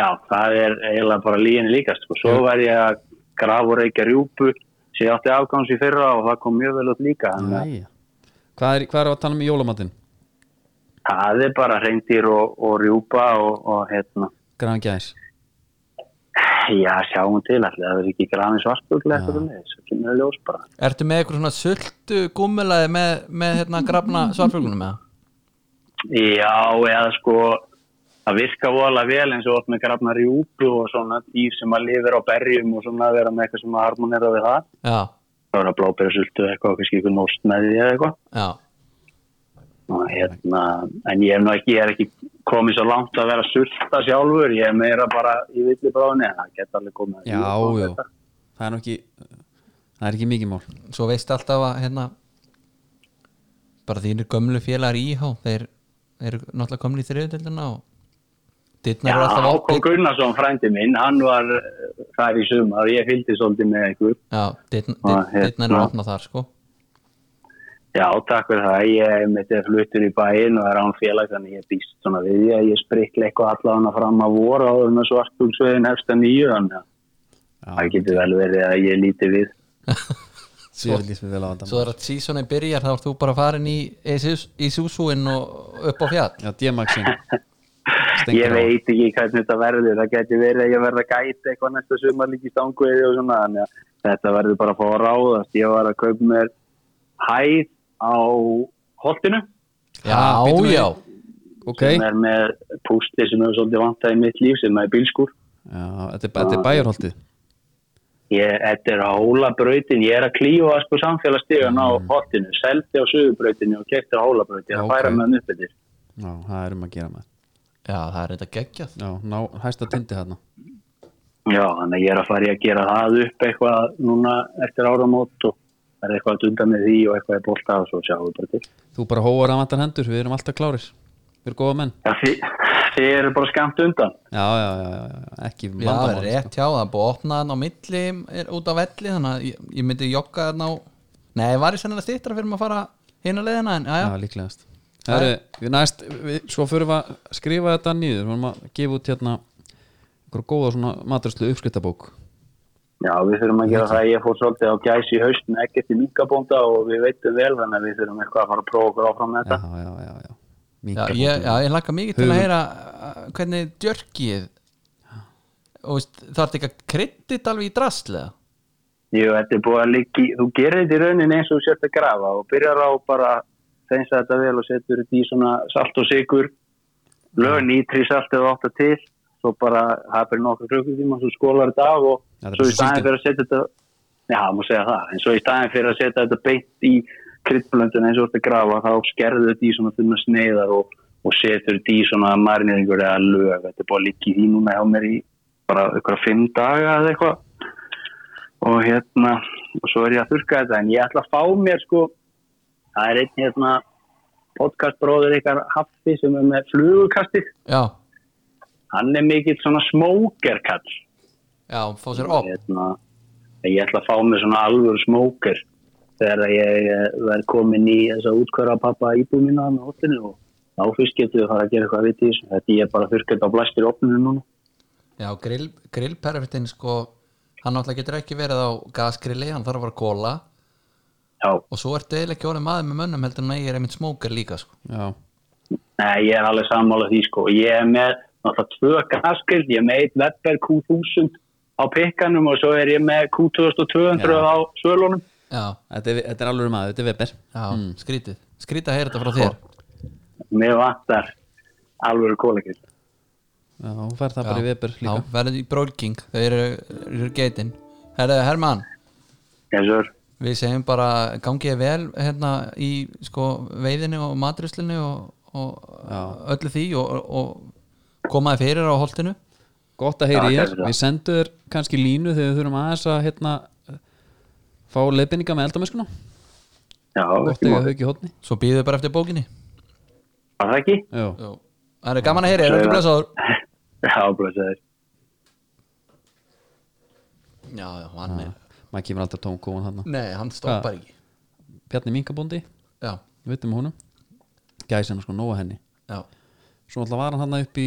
Já, það er eiginlega bara líginni líkast, sko. Svo var ég að grafa og reykja rjúpu, sem ég átti afgáns í fyrra og það kom mjög vel út líka. Þannig að Jæja. Hvað er, hvað er að tala um í jólamatinn? það er bara reyndir og, og rjúpa og, og hérna, Grafan gæs já, sjáum til allir, það er ekki grafin svartfugl eftir um þess, það kemur í ljós bara. Ertu með eitthvað svona sultu gummulaði með, með hérna grafna svarfuglunum eða? Já, eða sko að virka vola vel eins og oft með grafna rjúpu og svona dýr sem að lifir á berjum og svona að vera með eitthvað sem að harmonera við það. Já, Það var að blóbera sultu eitthvað og kannski eitthvað nóst með því eða eitthvað. já Og hérna, en ég, hef nú ekki, ég er ekki komið svo langt að vera sulta sjálfur, ég er meira bara í villi bráðinni en það geta alveg komið. að Já, rjúpa og já þetta. Það er nú ekki Það er ekki mikið mál svo veist alltaf að hérna, bara þínir gömlu félagar í íhá þeir eru náttúrulega komin í þriðutöldina og dittnar eru Já, alltaf Hákon opnar Gunnarsson, frændi minn, hann var eh, þar í sumar, ég fylgdi svolítið með einhver. já, Ah, hérna. dittnar eru opnað þar sko [laughs] Já, takk fyrir það. Ég mitt er fluttur í bæinn og er án félag þannig ég býst svona við því að ég sprikla eitthvað allavega fram að voru á þarna svartbúlsveginn hefst að nýju þannig að það getur vel verið að ég líti við. Svo er lítið vel á þetta svo er að sísoni byrjar þá ert þú bara farin í Isusuinn og upp á fjall Já, D-Maxin ég veit ekki hvernig þetta verður. Það getur verið að ég verða gæti eitthvað næsta sumar líki stanguði og svona þannig að þetta verður bara að fá að ráðast. Ég var að kaupa mér hæð á holtinu. já, já, ok sem er með pústi sem hefur svolítið vantað í mitt líf sem er bílskur Já, þetta er, þetta er bæjarholtið ég, þetta er á hólabrautin ég er að klífa sko samfélagstíðan á hotinu, seldi á sögubrautinu og kefti á hólabrautin, ég er að Ok. færa með hann upp eftir Já, það er um að gera með Já, það er þetta geggjað Já, ná, hæsta tindi þarna já, þannig að ég er að fara í að gera það upp eitthvað núna eftir áramót og það er eitthvað að dunda með því og eitthvað er bólta og svo sjáum við bara til Þú bara hóar að vantar hendur, við erum alltaf klárir Við erum góða menn já, þið, þið eru bara skamt undan Já, já, já, já, já, ekki Já, það er vandamál rétt hjá, það er búið að opna þarna á milli er út á velli, þannig að ég, ég myndi jogga þarna á Nei, ég var í sennilega stýttra fyrir maður að fara hinn að leiðina en, já, Já, líklegast Heru, við næst, við, Svo fyrir við að skrifa þetta nýður Við erum að gefa út hérna einhverja góða svona maturslu uppskriftabók já, við þurfum að gera það, ég fór svolítið á gæs í haustin ekkert í minkabónda og við veitum vel þannig að við þurfum eitthvað að fara að prófa okkur áfram með Já, já, þetta já, já. já, Minkabók. ég, já, ég laka mikið til að Hugum. heyra uh, hvernig djörkið og veist, það er ekki að kryddit alveg í drastlega Jú, þetta er búið að liggi, þú gerir þetta í rauninni eins og þú sért að grafa og byrjar á bara að þeinsa þetta vel og setur þetta í svona salt og sigur, lög Mm. nýtri salt eða átta til, svo bara hafður nokkur klukkutíma, svo skólar þetta af og Já, þetta er svo bara í staðin síldin. fyrir að setja þetta, já, má segja það, en svo í staðin fyrir að setja þetta beint í kryddblöndun eins og þú ert að grafa, þá skerðu þetta í svona þunna sneiðar og, og setur þetta í svona marineringur eða lög, þetta er búið að liggi því núna hjá mér í bara ykkur fimm daga eða eitthvað og hérna og svo er ég að þurka þetta en ég ætla að fá mér sko það er einn hérna podcastbróður ykkar Haffi sem er með flugukasti Já, hann er mikill svona smókerkall já, fá sér op hérna, ég ætla að fá mér svona alvöru smóker þegar að ég eh, verð komin í þessa útkvöra pappa íbúmina með hóttinu og þá fyrst getur við að fara að gera eitthvað við því þetta ég er bara að þurka þetta á blæstir opninu núna Já, grill, grillperfittin sko, hann náttúrulega getur ekki verið á gasgrilli, hann þarf að vera kóla já, og svo ertu eiginlega ekki orðið maður með mönnum heldur en að ég er einmitt smókar líka sko. Já, Nei, ég er alveg sammála því sko. Ég er með náttúrulega tvö gaskild, ég er með eitt Webber Q1000 á pikkanum og svo er ég með Q2200 á svölunum. Já, þetta er, þetta er alveg maður, þetta er Weber já, skrítið Skrítið að heyra þetta frá þér Mér vantar alveg kólekild. Já, hún fær það bara í Weber Já, líka verður í brólking, þau eru, eru geitin Herðu, Herman, Yes, sir. við segjum bara gangið þér vel hérna í sko, veiðinni og matrislinni og, og öllu því og, og komaði fyrir á holtinu Gott að heyri Já, ég gerðu það. Við sendum þér kannski línu þegar við þurfum aðeins að hérna, fá leifinninga með eldamöskuna Já, Gott ekki að mál. hafa ekki hótni Svo býðum við bara eftir bókinni Var það ekki? Já, Já. Það er gaman að heyra, er ekki blessaður [laughs] Já, blöðsæður. Já, já, hann er maður kemur alltaf tónkóan hann Nei, hann stoppar ekki Bjarni Minkabóndi, Já, við veitum húnum Gæs hennar sko, nóa henni já Svo alltaf var hann hann upp í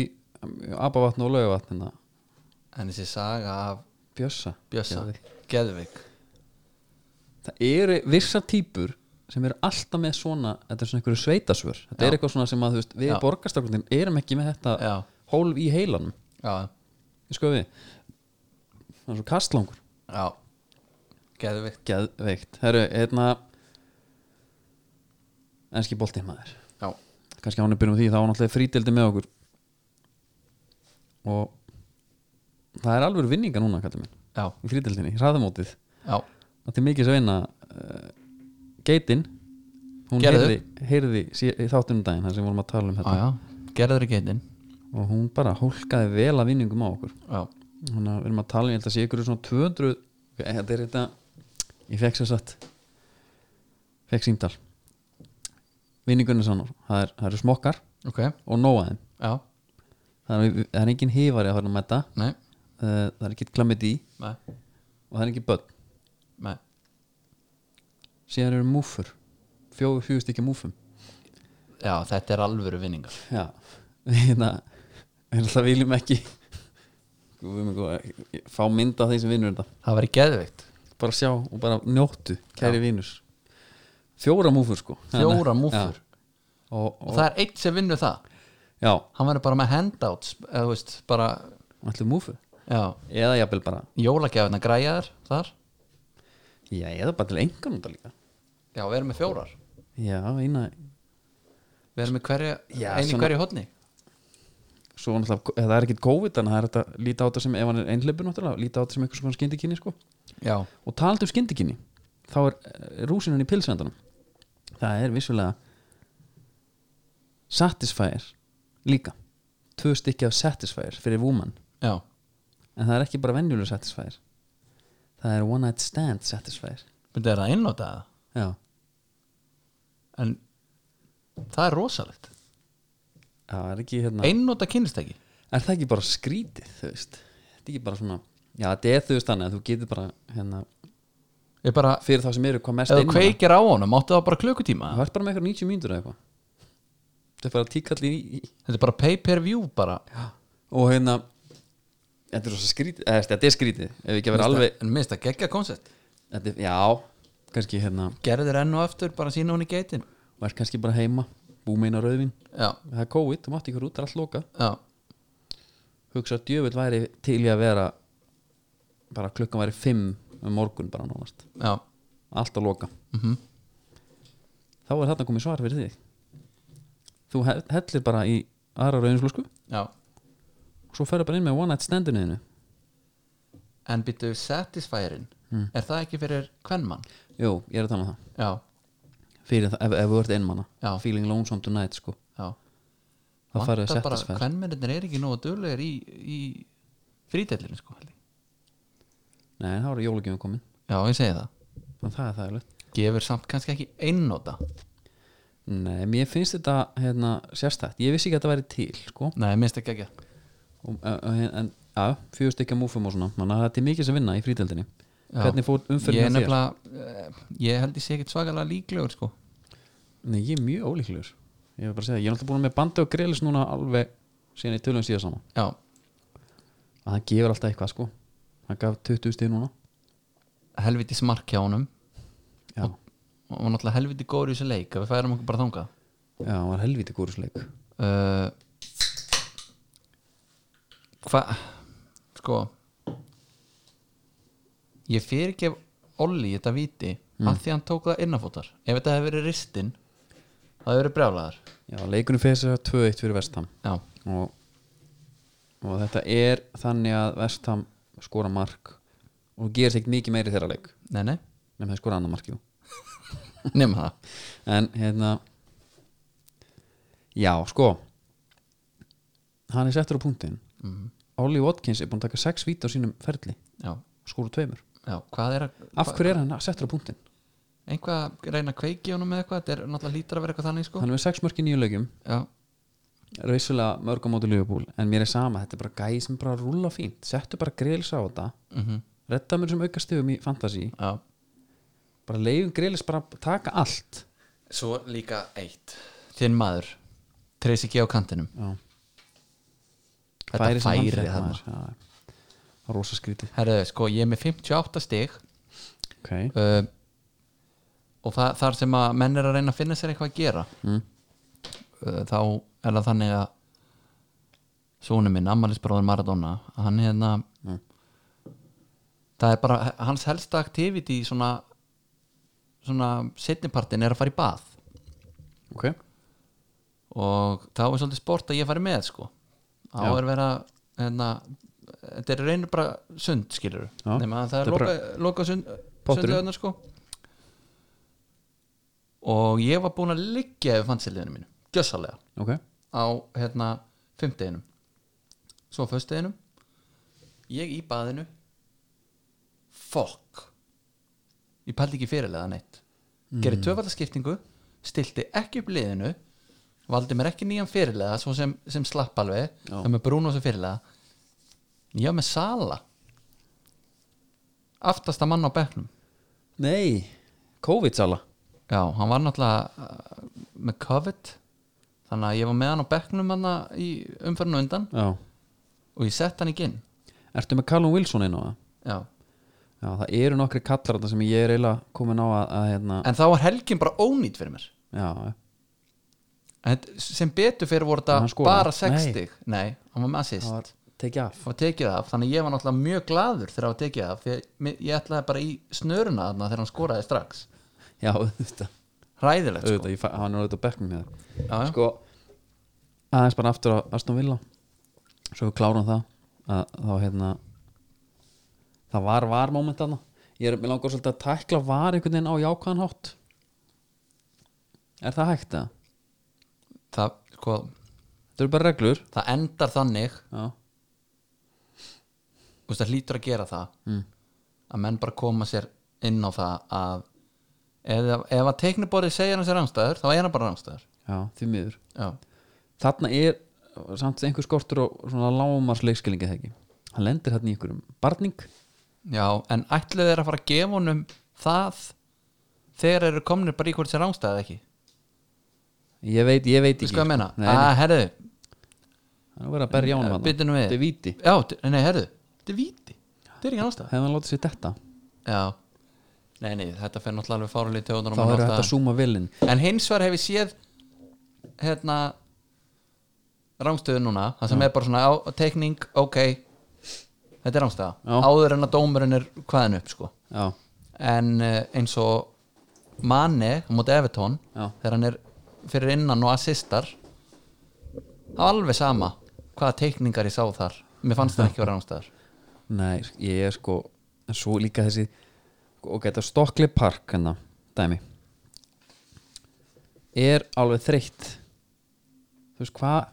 Abavatn og Laugavatn hérna, En þessi saga af Bjössa Bjössa Geðveik. Geðvik Það eru vissa típur sem eru alltaf með svona Þetta er svona einhverju sveitasvör Þetta er eitthvað svona sem að þú veist, við Já. borgarstaklundin erum ekki með þetta Já. hólf í heilanum Já, Ég skoði Sko við Það er svo kastlangur já Geðvik Geðveikt Herru, hérna Enski boltið maður Já, kannski ánum byrjum á því, þá var náttúrulega frítildi með okkur og það er alveg vinninga núna, kallið minn, já, í frítildinni hraðamótið, já það er mikið sem vinna uh, geitin hún Gerðu. heyrði, heyrði sí- í þáttunum daginn, þar sem vorum að tala um Já, þetta já, gerður í geitin og hún bara hólkaði vel að vinningum á okkur Já, þannig að við erum að tala, um, ég held að sé ykkur svona 200, eh, þetta er þetta ég fekk sér satt fekk símdal vinningunni sann það er- það eru smokkar ok, og nóaðin já, það er, það er engin hifari að fara að metta nei, uh, það er ekkert klammið í nei, og það er ekki börn nei síðan eru múfur fjóðu fjóðu stykki múfum Já, þetta er alvöru vinningar já, [laughs] hérna við alltaf viljum ekki við viljum ekki fá mynd af þeim sem vinnur þetta Það væri geðvikt bara sjá og bara njóttu kæri vinnur fjóra múfur sko Fjóra Þannig- múfur já, og, Og og, það er eitt sem vinnur það já, Hann verður bara með handouts eða þú veist, bara, allir múfur já eða jafnvel bara Jólagjafina græjar þar já, eða bara til engan út líka Já, við erum með fjórar já, eina við erum með hverja, Já, einu svona- hverju hodni svo náttúrulega, eh, það er ekkit COVID þannig að það er þetta að líta á þetta sem, ef hann er einhleipu náttúrulega, líta á þetta sem eitthvað svona skyndikinni sko. já, og talandi um skyndikinni þá er eh, rúsinan í pilsvendunum það er vissulega Satisfyer líka tvö stykki af Satisfyer fyrir Woman já, en það er ekki bara venjuleg Satisfyer það er One Night Stand Satisfyer myndi er það innlótað já, en það er rosalegt það er ekki hérna einnóta kynlistæki er það ekki bara skrítið þú veist þetta er ekki bara svona já, þetta er þú veist þannig að þú getur bara hérna ég bara, fyrir þá sem eru hvað mest ef þú einmana. kveikir á honum áttu það bara klukkutíma það er bara með eitthvað 90 mínútur eða eitthvað þetta er bara tíkall í, í, þetta er bara pay per view bara og hérna þetta er, svo skrítið, eða, þetta er skrítið ef ekki að vera alveg en minnst að gegja koncept þetta er, já, kannski hérna gerðir enn og aftur bara sína hún í geitin og er kannski bara heima, bú meina rauðvin já, það er COVID, þú mátt ykkur út, það er allt lokað já, hugsa að djöfull væri til í að vera bara klukkan væri 5 um morgun bara nánast, já allt að loka Mhm. þá er þarna komið svar fyrir þig þú he- hellir bara í aðra rauðinslúsku já, og svo ferðu bara inn með one night standinu þínu en býttu satisfyrin er það ekki fyrir kvennmann jú, ég er að tala um það Hmm. já, fyrir það, ef, ef þú ert einmana Já. feeling lonesome tonight sko já það farið að Vantar bara, setja sver kvennmennir er ekki nógu döglegir í, í frítellinu sko held ég. nei, það var jólugjöfum komin já, ég segi það þannig að það er þægilegt gefur samt kannski ekki einnóta nei, mér finnst þetta hérna, sérstætt, ég vissi ekki að þetta væri til sko. nei, minnst ekki ekki og, eh, en, en að, fjögur stykja múfum og svona manna þetta er mikið sem vinna í fríteldinni Já. hvernig fór ég er umfyrir þér? nefnilega eh, ég held ég sé ekkit svakalega líklegur sko Nei, ég er mjög ólíklegur ég er bara að segja, það. ég er alltaf búin með bandi og grillis núna alveg síðan í tölum síðan saman já, að það gefur alltaf eitthvað sko hann gaf 20 stig núna helviti smark hjá honum já, og var náttúrulega helviti góður í þessu leik ef við færum okkur bara þangað já, hann var helviti góðursleik uh, hvað sko ég fyrirgef Olli þetta viti af því að hann tók það innafótar ef þetta hefði verið ristinn það hefði verið brjálæðar já, leikunum fyrir þess að 2-1 fyrir vestam já, og, og þetta er þannig að Vestham skora mark og gerir ekkert mikið meiri þeirra leik nei nei, nefnum þeir skora annar mark jú. nema það en hérna já sko hann er settur á punktin Mhm. mm. Ollie Watkins er búin að taka sex víti á sínum ferli já, og skora tveimur já, hvað er að af hverju er hann settur á punktin einhvað að reyna að kveiki honum með eitthvað þetta er náttúrulega lítur að vera eitthvað þannig sko hann er með sex mörk í nýju leikjum já, er vissulega mörg á móti Liverpool en mér er sama, þetta er bara gæði sem bara rúla fínt settu bara grilsa á þetta mm redda mér sem auka stegum í fantasy já bara leifum grillis bara að taka allt svo líka eitt þinn maður, treysi ekki á kantinum Já. þetta færi, færi þarna það var rosa skrítið Herðu, sko, ég er með 58 stig okay. uh, og það, þar sem að menn er að reyna að finna sér eitthvað að gera Mm. uh, þá er það þannig að sónu minn, ammælisbróður Maradona hann hérna það er bara, hans helsta activity svona svona setnipartin er að fara í bað ok, og þá er svolítið sport að ég fari með sko þá Já. er verið að hérna, þetta er reynir bara sund skilur Já. nema að það Þetta er er loka, loka sund, Potturinn. sundlöðunar sko og ég var búin að liggja yfir fannsiliðinu mínu, gjössalega ok á hérna fimmteginum svo föstudeginum ég í baðinu fokk ég pældi ekki fyrirlega neitt gerði töfaldaskiptingu stilti ekki upp liðinu valdi mér ekki nýjan fyrirlega svo sem, sem slapp alveg Já. það með Bruno sem fyrirlega ég var með Sala aftasta mann á bekknum nei, COVID-sala Já, hann var náttúrulega uh, með COVID þannig að ég var með hann á bekknum hann í umferðinu undan já. og ég sett hann ekki inn ertu með Callum Wilson inn á það Já. já, það eru nokkri kallar þarna sem ég er eiginlega komin á að, að hérna en þá var helgin bara ónýtt fyrir mér já, já. En þetta- sem betur fyrir voru En hann þetta skoraði? bara Nei. 60 Nei, hann var með assist það var tekið af og tekið af, þannig að ég var náttúrulega mjög gladur þegar það var tekið af, því að mi- ég ætlaði bara í snöruna þarna þegar hann skoraði strax já, þetta ræðilegt sko. auðvitað, ég fæ, hann er auðvitað á bekknum með það já, já. sko, aðeins bara aftur á Aston Villa svo við klárum það að, þá hérna það var var moment þarna ég er með langar svolítið að tækla var einhvern veginn á jákvæðan hátt er það hægt það? Það, sko, það eru bara reglur það endar þannig já, þú veist, það hlýtur að gera það mm. að menn bara koma sér inn á það að ef, ef að teikniborðið segir hann sér rangstæður þá er hann bara rangstæður já því miður já, þarna er eh, samt einhver skortur á svona lágumars leikskilingi það ekki hann lendir hérna í einhverjum barning já en ætluð er að fara að gefa honum það þegar eru komnir bara í hvort sér rangstæð ekki ég veit, ég veit Þú ekki sko. veist hvað ég meina? Nei, að, nei, herðu, hann er verið að berja á hann byttu nú við þetta er víti Já, d- nei, herðu, þetta er víti Þetta er ekki rangstæð hefði hann látið sér detta Já, nei, nei, þetta fer náttúrulega alveg fáralítið tjóðunar þá er þetta að súma vilin En hins vegar hef ég séð hérna rángstöðu núna, það sem er bara svona á, teikning, ok þetta er rángstöða, Já. áður en að dómurinn er hvaðan upp sko já, en eh, eins og Mane á móti Evertón Já. þegar hann er fyrir innan og assistar það var alveg sama hvaða teikningar ég sá þar mér fannst það ekki vera rángstöðar nei, ég er sko en svo líka þessi ok, þetta Stokkley Park hérna, dæmi er alveg þreytt þú veist hvað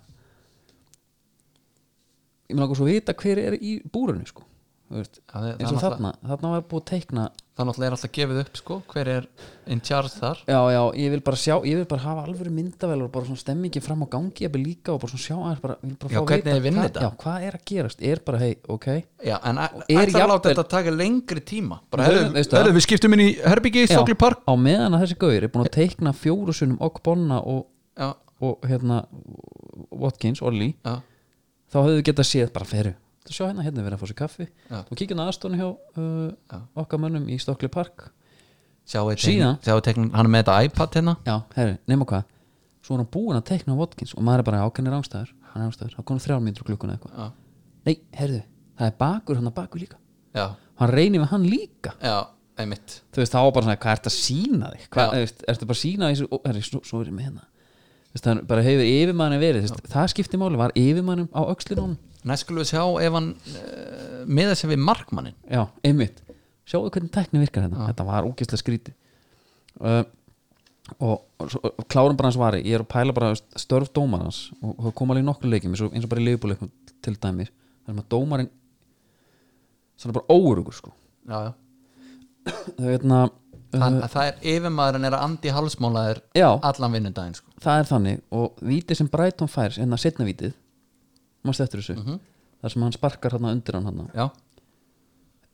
ég með langar svo að vita hver er í búrunni sko þú veist, Já, það- [laughs] það eins og náttúrulega- þarna, þarna var búið að teikna það náttúrulega er alltaf gefið upp sko hver er in charge þar já, já, ég vil bara sjá, ég vil bara hafa alvöru myndavel og bara svona stemmingi fram á gangi ég vil líka og bara svona sjá aðeins bara, ég vil bara Já, fá að hvernig vita þeir vinna hvað- þetta? já, hvað er að gerast, er bara, hei, ok Já, en ætlar er að láta jafnvel- þetta taka lengri tíma bara, Höfum- herðu, veistu það? herðu, við skiptum inn í herbyggi Já, Stokli Park á meðan að þessi gauður er búin að teikna fjóru sunnum okk bonna og, já, og hérna Watkins, Olli, já, þá höfðu getað séð bara feru, þú sjá hérna, hérna er verið að fá sér kaffi Já. og kíkja aðstónu hjá uh, okkar mönnum í Stokli Park sjáu Síðan- teknin, sjáu teknin, hann er með þetta iPad hérna já, herri, nema hvað svo er hann búin að teikna Watkins og maður er bara ákennir ángstæður, hann er ángstæður þá konum þrjár mínútur klukkuna eitthvað Já. nei, herðu, það er bakur hann að bakur líka já, hann reynir með hann líka já, einmitt þú veist, þá var bara svona, hvað ertu að sína þig hvað, Já. þú veist, ertu bara að sína þessu, ó, herri, svo, svo er ég með hérna Þú veist, það bara hefur yfirmannin verið, þú veist, það skipti máli var yfirmannum á öxlinum næst skulum við sjá ef hann uh, miða sér við markmannin já, einmitt, sjáu hvernig tækni virkar hérna, þetta var úkislega skríti uh, og, og, svo- og klárum bara hans vari, ég er að pæla bara þú veist, störf dómarans og það kom alveg í nokkru leikjum eins og, eins og bara í leifbúleikum til dæmis þar sem að dómarinn svona bara óurugur sko Hérna, já, já. það, veitna, Hann, það er yfirmaðurinn er að andi halsmálaður Eh. Já. allan vinnundaginn sko. það er þannig og vítið sem Brighton fær en það setna vítið mást eftir þessu þar sem hann sparkar hann undir hann hann já,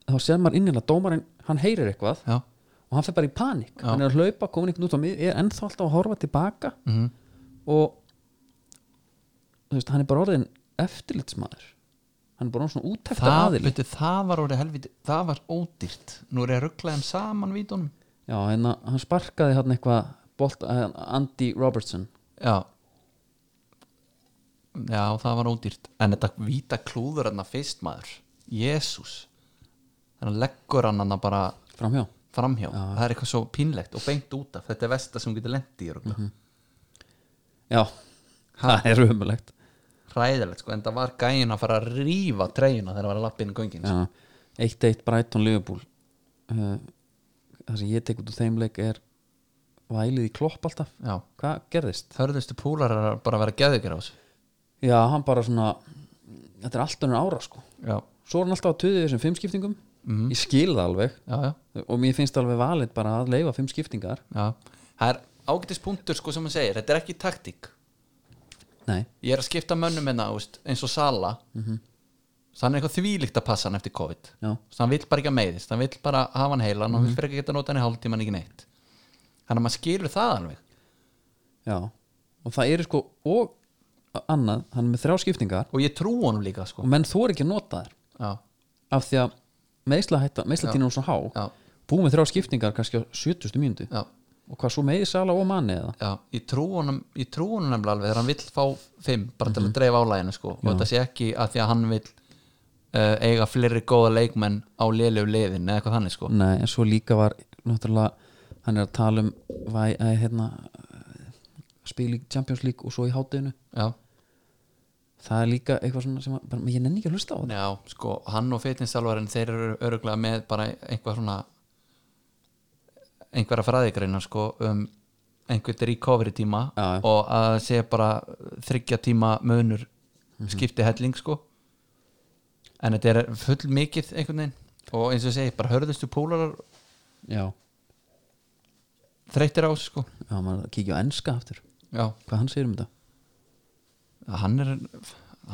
þá sér maður innilega dómarinn hann heyrir eitthvað já, og hann fer bara í panik hann er að hlaupa, komin einhvern út á mið er ennþá alltaf að horfa tilbaka -hmm. og þú veist, hann er bara orðin eftirlitsmaður hann er bara orðinn svona úttekta það, aðili beti, það var orðið helviti það var ódýrt, nú er ég að ruggla þeim saman vítunum já, en að- hann sparkaði hann eitthvað bolt, eh, Andy Robertson já já, það var ódýrt en þetta víta klúður hann fyrst maður jésús þannig leggur hann hann bara framhjá framhjá, það er eitthvað svo pínlegt og beint út af, þetta er vesta sem hún getur lendi í mm Mhm. -hmm. já, það er umulegt ræðilegt sko, en það var gæin að fara að rífa treyjuna þegar það var að lappa inn í göngin sko. Já, 1-1 Brighton Liverpool uh, Það sem ég tek út úr þeim leik er Vælið í klopp alltaf Já. Hvað gerðist? hörðustu púlar er að bara að vera geðugir á þessu Já, hann bara svona Þetta er allt önnur ára sko já, Svo er hann alltaf að tuðið þessum fimm skiptingum Mhm. Ég skil það alveg já, já, Og mér finnst alveg valið bara að leifa fimm skiptingar já. það er ágætis punktur sko sem hann segir, þetta er ekki taktík Nei, ég er að skipta mönnum hérna þú veist, eins og Sala mm -hmm. þannig eitthvað þvílíkt að passa hann eftir COVID Já. Svo hann vill bara ekki að meiðist, hann vill bara hafa hann heilan og hann vill fyrir ekki geta nota hann í hálftíman ekki neitt þannig að maður skilur það alveg já Og það eru sko og annað Hann er með þrjá skiptingar og ég trú honum líka sko Og menn þor ekki að nota þær já, Af því að meðsla hætta, meðsla tína hún svo há Já. Búið með þrjá skiptingar kannski á 70. mínútu já og hvað svo meði sala og manni eða Já, ég trú honum, ég trú honum nefnilega alveg þegar hann vill fá fimm bara til að dreifa álæginu sko og þetta sé ekki að því að hann vill uh, eiga fleiri góða leikmenn á lélegu liðin eða eitthvað þannig sko nei, en svo líka var náttúrulega hann er að tala um væ, að, hérna, spil í Champions League og svo í hátinu já, það er líka eitthvað svona sem að, bara, ég nenni ekki að hlusta á það já, sko hann og fitnessálvarinn þeir eru öruglega með bara einhver svona einhverja fræðigreina sko um einhvern recovery tíma Já, já. og að það sé bara þryggja tíma munur Mhm. skipti helling sko en þetta er full mikið einhvern veginn og eins og ég segi bara hörðustu púlarar já, þreyttir á þessu sko já, maður að kíkja á enska aftur já, hvað hann segir um þetta hann er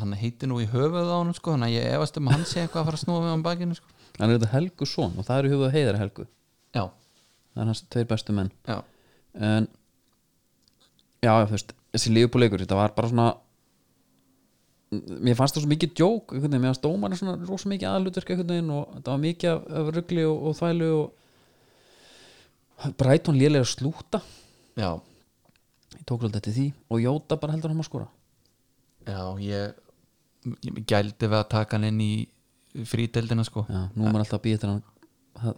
hann heitir nú í höfuð á hann sko þannig að ég efast um að hann sé eitthvað að fara að snúa við hann bakinu sko hann er þetta Helgu son og það eru höfuð að heiðar Helgu já, það er hans tveir bestu menn já, en já, já, þú veist, þessi lífbúleikur þetta var bara svona mér fannst það svo mikið djók einhvern veginn, mér fannst dómarinn svona rosa mikið aðlutverk einhvern veginn og þetta var mikið af, af ruggli og, og þvælu og Brighton lélega slúta já, ég tók svolítið eftir því og Jóta bara heldur hann að skora já ég, ég gældi við að taka hann inn í frídeldina sko já, nú er maður alltaf að býja eftir hann að,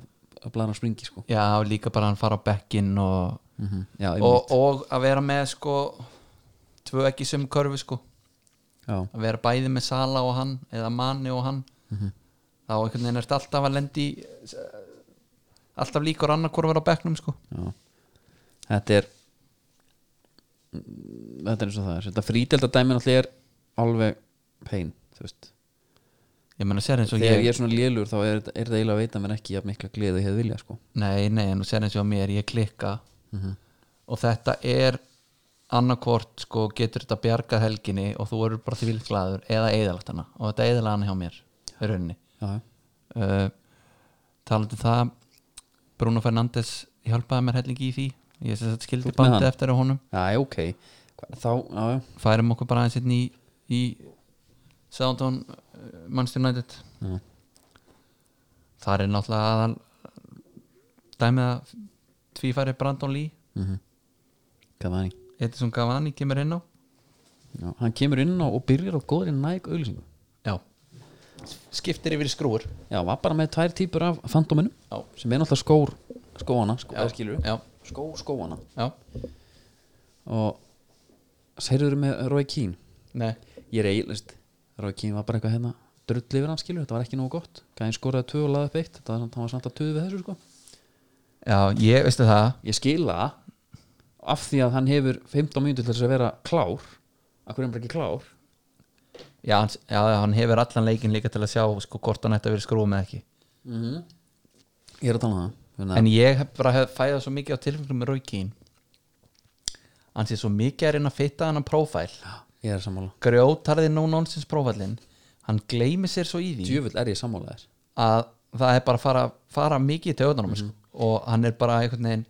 að blara springi sko Já, líka bara hann fara á bekkinn og, mm -hmm. já, Mhm. og, og að vera með sko tvö ekki sem körfi sko einmitt. að vera bæði með Sala og hann eða Mani og hann Mhm. þá einhvern veginn er þetta alltaf að lendi í, eh, alltaf líkur annarkorfur á bekknum sko já, já. þetta er þetta er eins og það er þetta frídeldadæmin alltaf er alveg pain, þú veist ég menna sér eins og þegar ég, ég er svona lélur þá er, er það eiginlega að veita mér ekki jafn mikla gleði og ég hefði vilja sko. nei, nei, en þú sér eins og mér ég klikka Mhm. og þetta er annarkort sko getur þetta bjargað helginni og þú eru bara því vilklaður eða eðalagt hana og þetta eðalaði hana hjá mér í rauninni já, já. uh, talandi um það Bruno Fernandes hjálpaði mér hellingi í því ég sem sagt skildi ert með bandið hann? eftir á honum já, ok Hva- þá, já, já, færum okkur bara aðeins hérna í, í Southampton uh, Manchester United Já. þar er náttúrulega aðal dæmið að tvífæri Brandon Lee Cavani Edison Cavani kemur inn á já, hann kemur inn á og byrjar á góðri næg auðlýsingu já skiptir yfir í skrúur já, var bara með tvær típur af fantóminum Já. sem er náttúrulega skór skóana, skó, eða skilurðu? já, skó, skóana já, og segirður með Roy Keane nei ég er eiginlega, Roy Keane var bara eitthvað hérna drull yfir hann skilur, þetta var ekki nógu gott Gæðin skoraði tvö og laði upp eitt, þetta var, hann var samt að tuðu við þessu sko já, ég veistu það ég skila af því að hann hefur 15 mínútur til þess að vera klár akkur er hann bara ekki klár Já, hans, já, hann hefur allan leikin líka til að sjá sko, hvort hann ætti að vera skrúið með ekki ég er að tala um það Þannig að- En ég hef bara hef fæðað svo mikið á tilfenglu með Rókín Hann sé svo mikið að reyna að fitta hann að prófæl ég er sammála Grjótarði no-nonsense prófælin Hann gleymi sér svo í því djöfull er ég sammála þér að það er bara að fara, fara mikið í töðunum sko. og hann er bara einhvern veginn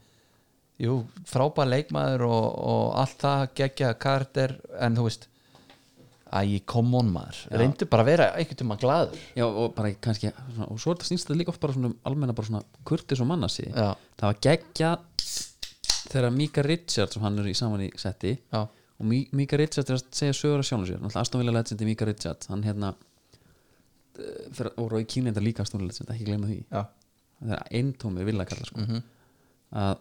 jú, frábær leikmaður og, og allt það geggja karter en þú veist æ, come on maður, reyndu bara að vera einhvern tímann glaður já og bara kannski svona, og svo er þetta snýst þetta líka oft bara svona um almenna bara svona kurtis og manna sig Já. það var geggja þegar Mika Richards og hann er í saman í setti Já, og Mi- Mika Richards er að segja sögur að sjónu sér náttúrulega Aston Villa legendi Mika Richards hann hérna eh, fyrir, og Rói Kínleindar líka Aston Villa legend, ekki gleyma því já, það er eintómið vilja kalla sko að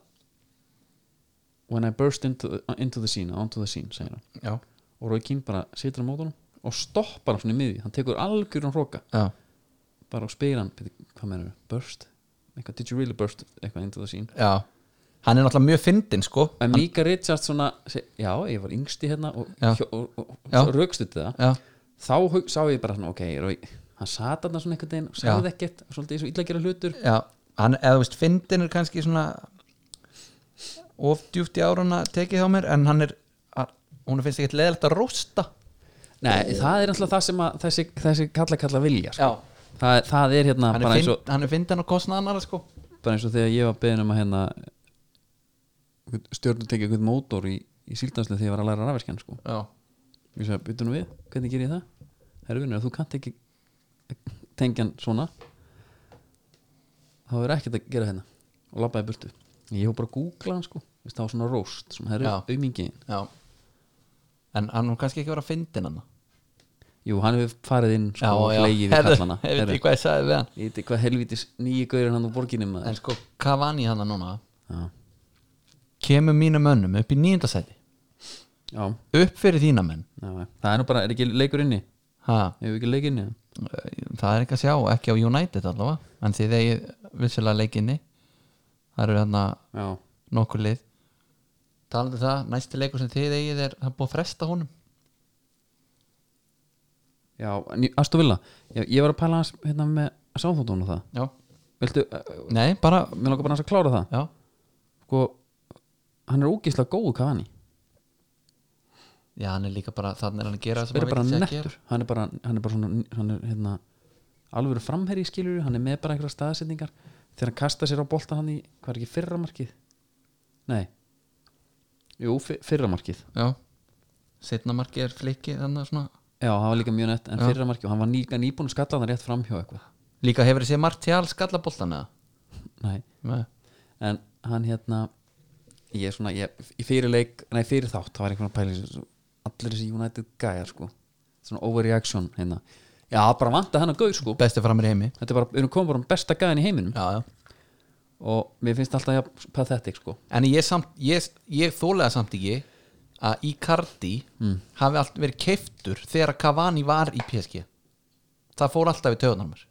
when I burst into, into the scene onto the scene, segir hann já, og Rói Kín bara situr á mótunum og stoppar hann svona í miði, hann tekur algjörn hróka já. bara og spyr hann, "Bíddu, hvað meður burst, eitthvað, did you really burst eitthvað into the scene Já, hann er náttúrulega mjög fyndin sko en Mika Richards svona, seg- já, ég var yngsti hérna og, Já. hjó- og, og, Já. og raukstutti það Já, þá hug- sá ég bara svona, ok, Rói hann sat hann svona einhvern veginn og Já. sagði ekkert svolítið svo illa að gera hlutur já, hann, eða þú veist fyndin er kannski svona of djúpt í árana tekið hjá mér en hann er, að- hún finnst ekkert leðilegt að rústa Nei, það er alltaf það sem að þessi, þessi kalla kalla vilja sko. Já, það, það er hérna hann bara er, eins, fynd, og, hann er fyndin og kostna annara sko bara eins og þegar ég var beðin um að hérna stjórnum tekið einhvern mótor í, í síldanslega þegar ég var að læra rafverkjan sko. Já, ég sagði, byttu nú við, hvernig ger ég það? Herru vinnur, ef þú kannt ekki tengjan svona þá er ekkert að gera hérna og labbaði burtu ég hef bara að googla hann sko Þú veist, það var svona roast, svona herru, Já. auðmingin já En hann er kannski ekki að vera fyndin hann jú, hann hefur farið inn sko, Já, og hlegið í herðu, kallana ég veit Herru, ekki hvað ég sagði við hann ég veit ekki hvað helvitis nýju gaurin hann úr borginni maður En sko, Cavani hann núna Já. kemur mínum mönnum upp í nýjöndasæti já, upp fyrir þína menn já, já. það er nú bara, er ekki leikur inni ha, hefur ekki leik inni það er ekki að sjá, ekki á United allavega en því þeir vissulega leikinni það eru þarna já, nokkur lið talandi um það, næsti leikur sem þið eigið er það er búið að fresta honum já, aðstu vilja ég, ég var að pæla hans hérna með sáþóttun og það já, Viltu, uh, nei, bara mér langar bara hans að klára það já, sko, hann er ógíslega góðu Cavani já, hann er líka bara þannig er hann að gera það sem hann er bara hann vill sé að nettur hann er bara, hann er bara svona, hann er hérna alvöru framherji skilur, hann er með bara einhverja staðsetningar þegar hann kasta sér á bolta hann í hvað er ekki fyrra markið nei, jú, fyr- fyrra markið gera já, setna marki er flikki þannig svona já, hann var líka mjög nett, en fyrra markið og hann var nýga nýbúin að skalla hann rétt fram hjá eitthvað líka hefur þessi Martial skallaboltan eða? nei, Nei. en hann hérna ég er svona, ég, í fyrir leik nei, fyrir þátt, það var einhvern pæling allir þessi United gæjar sko svona overreaction hérna já, bara vanta hann að gauð sko besti framir í heimi þetta er bara, við erum komin bara um besta gæðin í heiminum já, já. og mér finnst alltaf jafn pathetic sko en ég, samt, ég, ég þólega samt ekki að Icardi hafi allt verið keiftur þegar Cavani var í PSG það fór alltaf í töðunar mér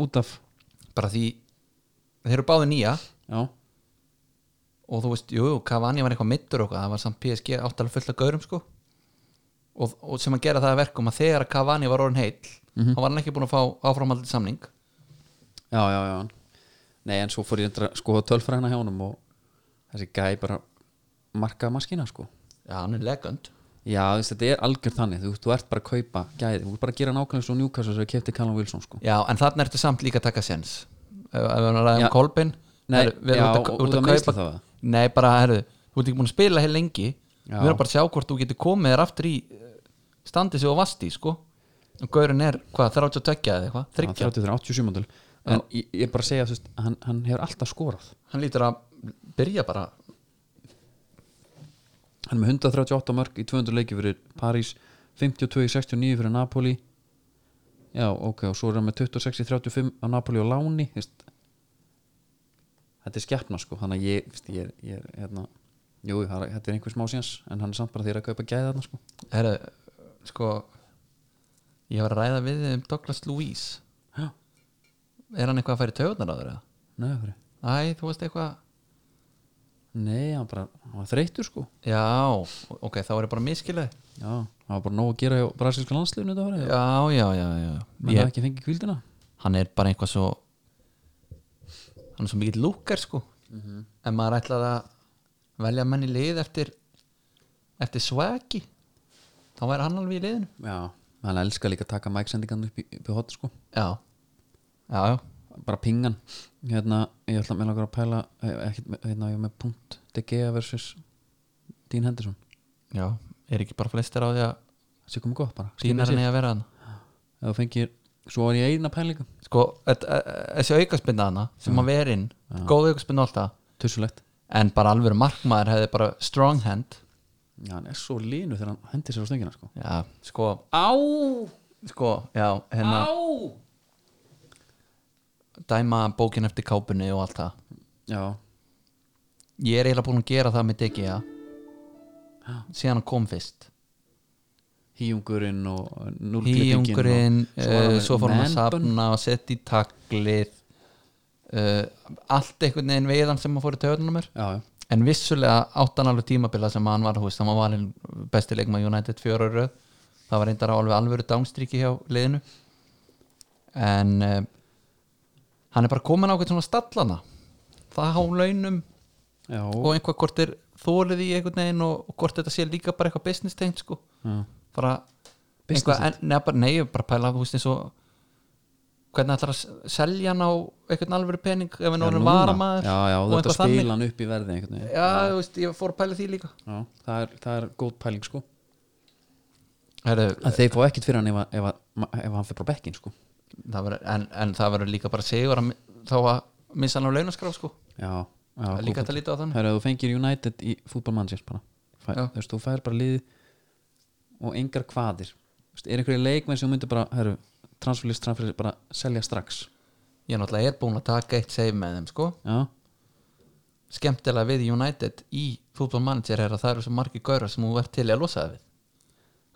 út af, bara því þeir eru báði nýja já, og þú veist, jú, jú, Cavani var eitthvað mittur og eitthvað, það var samt PSG áttalega fullt af gaurum sko og, og sem að gera það að verkum að þegar Cavani var orðin heill Mhm. þá var hann ekki búin að fá áframaldið samning já, já, já nei en svo fór ég að skoða tölfræðina hjá honum og þessi gæði bara markaða maskina sko já, hann er legönd já, þú veist, þetta er algjör þannig, þú, þú ert bara að kaupa gæði, þú ert bara að gera nákvæmlega svo njúkast þess að kefti Callum Wilson sko já, en þarna ertu samt líka að taka sens ef ef við erum að ræða Já. um Kolbein Nei, herru, við já, erum út og- að- út út af að meiðsli kaupa- þá, eða? nei, bara, herru, þú ert ekki búin að spila heil lengi Já. við erum bara að sjá hvort þú getur komið þér aftur í eh, standið sig og vasti, sko og gaurin er, hvað, 32 eða eitthvað 30, 37 múndul en ég, ég bara segja, þú veist, hann, hann hefur alltaf skorað hann lítur að byrja bara hann er með 138 mörg í 200 leiki fyrir París 52 í 69 fyrir Napoli já ok og svo er hann með 26 í 35 á Napoli og Láni þú veist. þetta er skeppna sko þannig að ég, þú veist, ég, er- ég er hérna jú það er- þetta er einhver smá síðans en hann er samt bara þegar að kaupa gæða þarna sko herru, sko ég var að ræða við þig um Douglas Louise já er hann eitthvað að færi töðunar á þér eða? nei af hverju? Æ, þú veist eitthvað nei hann bara hann var þreytur sko Já, ok, þá er ég bara miskileg já hann var bara nóg að gera hjá brasilska landsliðinu þetta var Já, já, já, já menn Ég- það ekki fengið kvildina hann er bara eitthvað svo hann er svo mikill lúkar sko en maður ætlar að velja menn í lið eftir eftir swaggi þá væri hann alveg í liðinu já hann elskar líka að taka mæksendingan upp í, upp í hot sko já, já, já, bara pingan hérna, ég ætla með langar að pæla eh, ekkert með- hérna, ég er með punkt De Gea versus Dean Henderson já. er ekki bara flestir á því að það sé komið gott bara, skilja dýnar hann sér eigi að vera hann ef þú fengir, svo var ég eina pælinga sko, þet- e- e- þessi aukaspinda hana sem að vera inn, góð aukaspinda alltaf tussulegt, en bara alveg markmaður hefði bara strong hand já hann er svo línu þegar hann hendir sér á stöngina sko já, sko, á, sko, já, hérna dæma bókin eftir kápunni og allt það já, ég er eiginlega búin að gera það með Diggi ja. síðan hann kom fyrst híungurinn og híungurinn, núlklippingin uh, svo fór hann að safna og setja í taklið uh, allt einhvern veginn veiðan sem hann fór í töðunum mér já, já, en vissulega átt hann alveg tímabila sem hann var, þú veist, hann var valinn besti leikma United fjóra í röð það var reyndar alveg alvöru dánstríki hjá liðinu en uh, hann er bara komin á eitthvað svona stallana það á launum já, og einhvað hvort er þólið í einhvern veginn og, og hvort þetta sé líka bara eitthvað business tengt sko já. bara Business einhvað, en, neða, bara, nei, ég er bara að pæla þú veist eins og hvernig ætlar að s- selja hann á einhvern alvöru pening ef hann Já, orðin núna. varamaður já, já, og þetta eitthvað þannig spila hann upp í verði einhvern veginn já, þú veist, ég fór að pæla því líka já, það er, það er góð pæling sko Heru, að þeir fá ekkert fyrir hann ef, að- ef, að- ef hann fyrir bara bekkin sko það var, en, en það verður líka bara sigur að, mi- þá að missa hann á launaskrá sko já, já Það er líka hægt að líta á þannig Hörru, þú fengir United í fútbolmannsins bara Fæ, Já. þú veist, þú fær bara liði og engar kvaðir Þú veist, er einhverju leikmenn sem þú myndir bara hörru, transferlist, transferlist, bara selja strax ég náttúrulega er búin að taka eitt save með þeim sko já, skemmtilega við United í fútbolmanager er að það eru svo margi gaurar sem þú ert til í að losa það við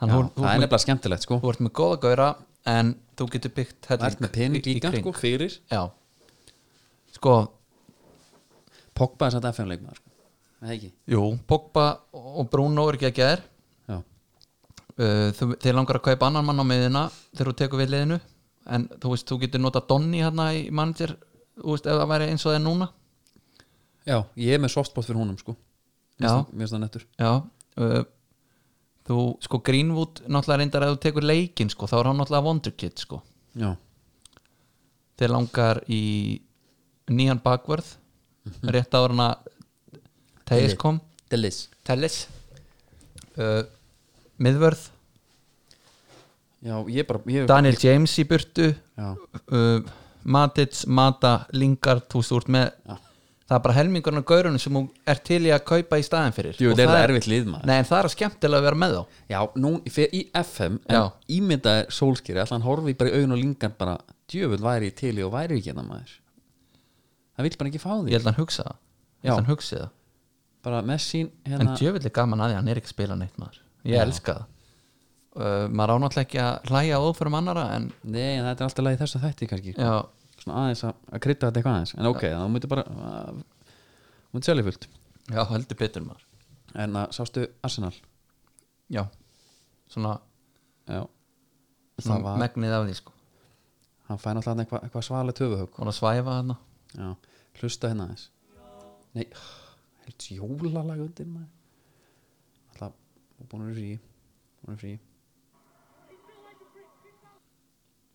Já, Þannig það er að þú, þú, nefnilega skemmtilegt sko þú, þú ert með góða gaura en þú getur byggt Það ert með pening líka sko, fyrir Já Sko, Pogba er satt FN leikmaður sko. Það er ekki jú, Pogba og Bruno er ekki að gera Já, Uh, þú- þeir langar að kaupa annan mann á miðina þegar þú tekur við liðinu en þú veist, þú getur nota Donny hérna í manager, þú veist, ef það væri eins og það er núna Já ég er með softbot fyrir honum sko Mér Já. finnst það- Mér finnst það nettur já uh, þú, sko, Greenwood náttúrulega reyndar að þú tekur leikinn, sko, þá er hann náttúrulega Wonderkid, sko, Já, þeir langar í nýjan bakvörð rétt ára hana Teis kom, Delis Tellis uh, miðvörð Já, ég bara ég, Daniel James í burtu Já, uh, Matits, Mata, Lingard þú veist, þú ert með Já. það er bara helmingurinn af gaurunum sem þú ert til í að kaupa í staðin fyrir Jú, Og þetta er erfitt lið, maður. Nei, en það er skemmtilega að vera með þá já nú, ég fer í FM Já. en ímyndaði sólskýri allan horfi bara í augun og lingan bara djöfull væri ég til í og væri ekki hérna maður Það vill bara ekki fá því Ég held að hann hugsa það Ég held að hann hugsi það bara Messi En hérna, djöfull er gaman að því, hann er ekki að spila neitt maður Ég elska það uh, Maður ánáttlega ekki að hlæja á óförum annara en Nei, en þetta er alltaf lagi þess að þætti kannski já, svona aðeins að, að krydda þetta eitthvað aðeins en ok, þá múti bara uh, að- þú múti selja fullt já, heldur betur maður en að sástu Arsenal Já, svona, já, það svona var, megnið af því sko hann fæði náttúrulega eitthvað eitthva svalega töfuhög Hún að svæfa þarna já, hlusta hérna aðeins nei, helds jólalag undir maður alltaf, búin að vera í frí búin að vera í frí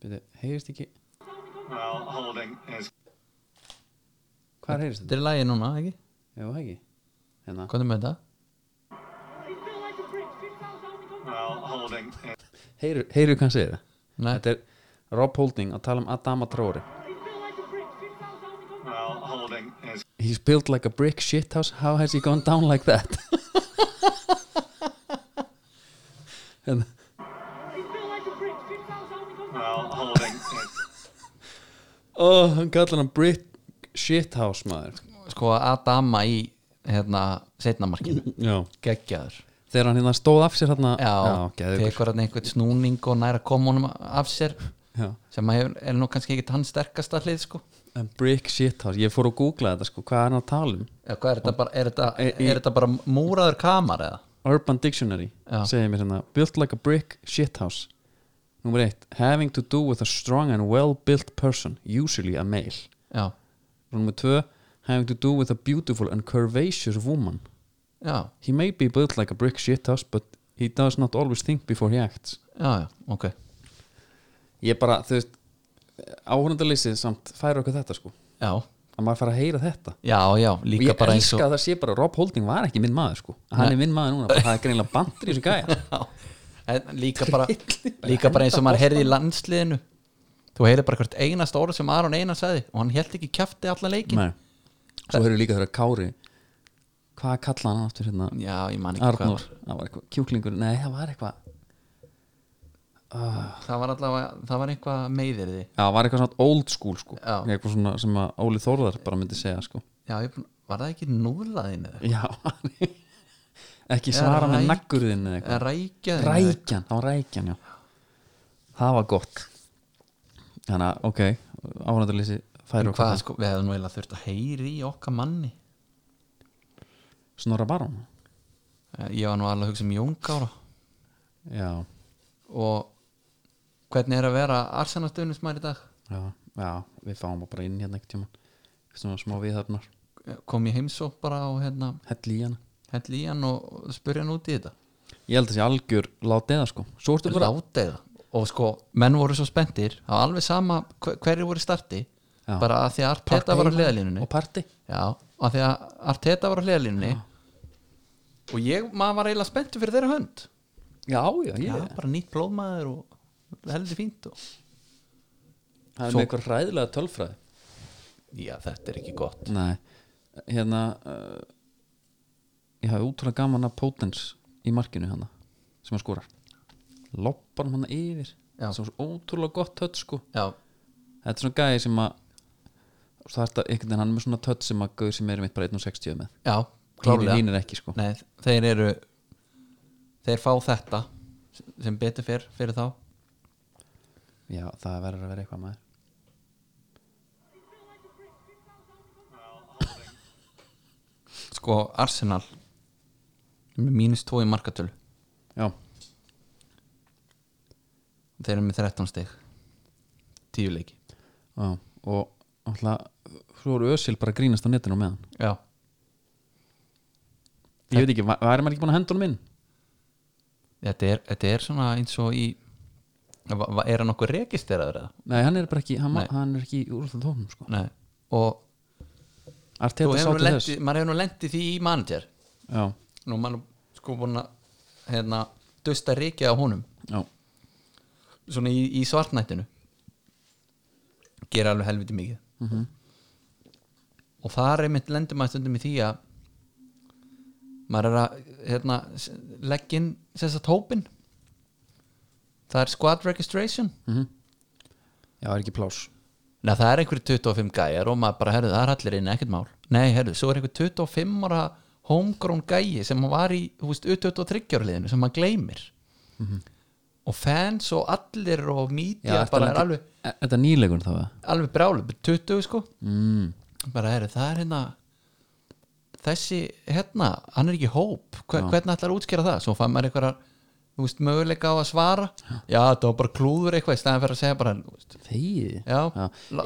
byrju, heyrist ekki Well, holding is hvað heyrist þetta? Þetta er lagið núna, ekki? já, það ekki hérna, Hvað er með þetta? well, holding is heyru, heyru hvað hann segir Nei. þetta er Rob Holding að tala um Adama Traore well, holding is He's built like a brick shithouse How has he gone down like that? [laughs] en, well, holding is oh, hann kallar hann brick shithouse maður sko Adama í hérna setnamarkinu Já. geggjaður Þegar hann hérna stóð af sér hérna já, geðveikur. tekur hann einhvern snúning og næra koma honum af sér Já. sem að hefur, er nú kannski ekki hann sterkasta hlið sko En brick shithouse, ég fór að googla þetta sko Hvað er hann að tala um? já, hvað er þetta bara, er þetta, Í- í- er þetta bara múraður kamar eða Urban Dictionary Já. segir mér hérna Built like a brick shithouse Númer eitt, having to do with a strong and well built person Usually a male já, Númer tvö, having to do with a beautiful and curvaceous woman já, He may be built like a brick shithouse but he does not always think before he acts já, já, ok Ég bara, þú veist áhörundalysið samt færa okkur þetta sko já, að maður fara að heyra þetta já, já, og líka ég bara eins elska og að það sé bara Rob Holding var ekki minn maður sko hann er minn maður núna, bara, það er greinilega bandur í þessu [laughs] gæja já, en líka [laughs] bara líka bara eins og maður heyrði í landsliðinu þú heyrði bara hvert einast orð sem Aron Einar sagði og hann held ekki kjafti allan leikin Nei. svo höfum við líka þegar Kári hvað kalla hann aftur hérna já, ég man ekki hvað Arnór, það var eitthvað kjúklingur nei, það var eitthvað það var allavega, það var eitthvað meiðir því já, það var eitthvað svona old school sko Já. eitthvað svona sem að Óli Þórðar bara myndi segja sko já, ég, er búinn- var það ekki núðlaðin eða já, [laughs] ekki svara með Ræk- naggurðin eða eitthvað eitthvað rækja Rækjan, það var rækjan, já Það var gott Þannig að, ok, áhverjandarlýsi færi okkur hvað, það. sko, við hefum eiginlega þurft að heyri í okkar manni Snorra Barón Eh, ég var nú alveg að hugsa um Jónkára Já, og hvernig er að vera arsenastöðnismæri í dag já, já, við fáum bara inn hérna ekkert tjóman Svona smá viðhafnar, Eh, kom ég heimsók bara og hérna hell í hana held í hann og spurja hann út í þetta Ég held að sé algjör látið eða sko Svo ertu bara látið og sko, menn voru svo spenntir það var alveg sama hver, hverju voru í starti Já. bara að því að Arteta var á hliðalínunni Og parti Já, af því að Arteta var á hliðalínunni og ég, maður var eiginlega spenntur fyrir þeirra hönd Já, já, ég Já, bara nýtt blóðmaður og heldur fínt og... Það er Svo- með eitthvað hræðilega tölfræði Já, þetta er ekki gott Nei, hérna uh, Ég hafði útrúlega gaman að Potens í markinu hana sem hann skorar Loppar hann hana hérna yfir Já. Svo svo ótrúlega gott höll sko Já, Þetta er svona gæði sem að og það er þetta einhvern veginn hann er með svona tött sem að gauð sem er mitt bara 1.60 með já, Hínir klárlega hín er ekki sko Nei, þeir eru þeir fá þetta sem betur fyrr fyrir þá Já, það verður að vera eitthvað maður sko Arsenal með mínus 2 í markatölu Já, þeir eru með 13 stig 10 leiki já og alltaf svo eru Ösil bara að grínast á netinu á meðan já, Ég veit ekki, va- væri maður ekki búin að henda honum inn? þetta er, þetta er svona eins og í Va- va- er hann okkur registeraður eða? Nei, hann er bara ekki, hann, Nei. hann er ekki úrþjóð tóknum sko Nei. og þú Arteta sá hefur til þess lendi, maður hefur nú lendið því í manager Já, nú er maður nú sko búin að hérna, dusta reikið á honum já, svona í, í svartnættinu gera alveg helviti mikið og þar einmitt lendur maður stundum í því að maður er að hérna, s- leggja inn sem sagt hópin það er squad registration Mhm. já, er ekki plás Nei, það er einhverju 25 gæjar og maður bara, herðu, það er allir inn, ekkert mál Nei, herðu, svo er einhverju 25 ára homegrown gæji sem hann var í, þú veist, U23-liðinu sem hann gleymir og fans og allir Mhm. Já, og media ertu bara er lengi- alveg, Er Þetta er nýlegur þá eða? alveg brjálu 20, sko, mm. bara, herðu, það er hérna þessi, hérna, hann er ekki hóp Hver, hvernig ætlar að útskýra það? Svo fann maður einhverjar, þú veist, möguleika á að svara Já, þetta var bara klúður eitthvað í stæðan fyrir að segja bara, þú veist, Þegið? Já.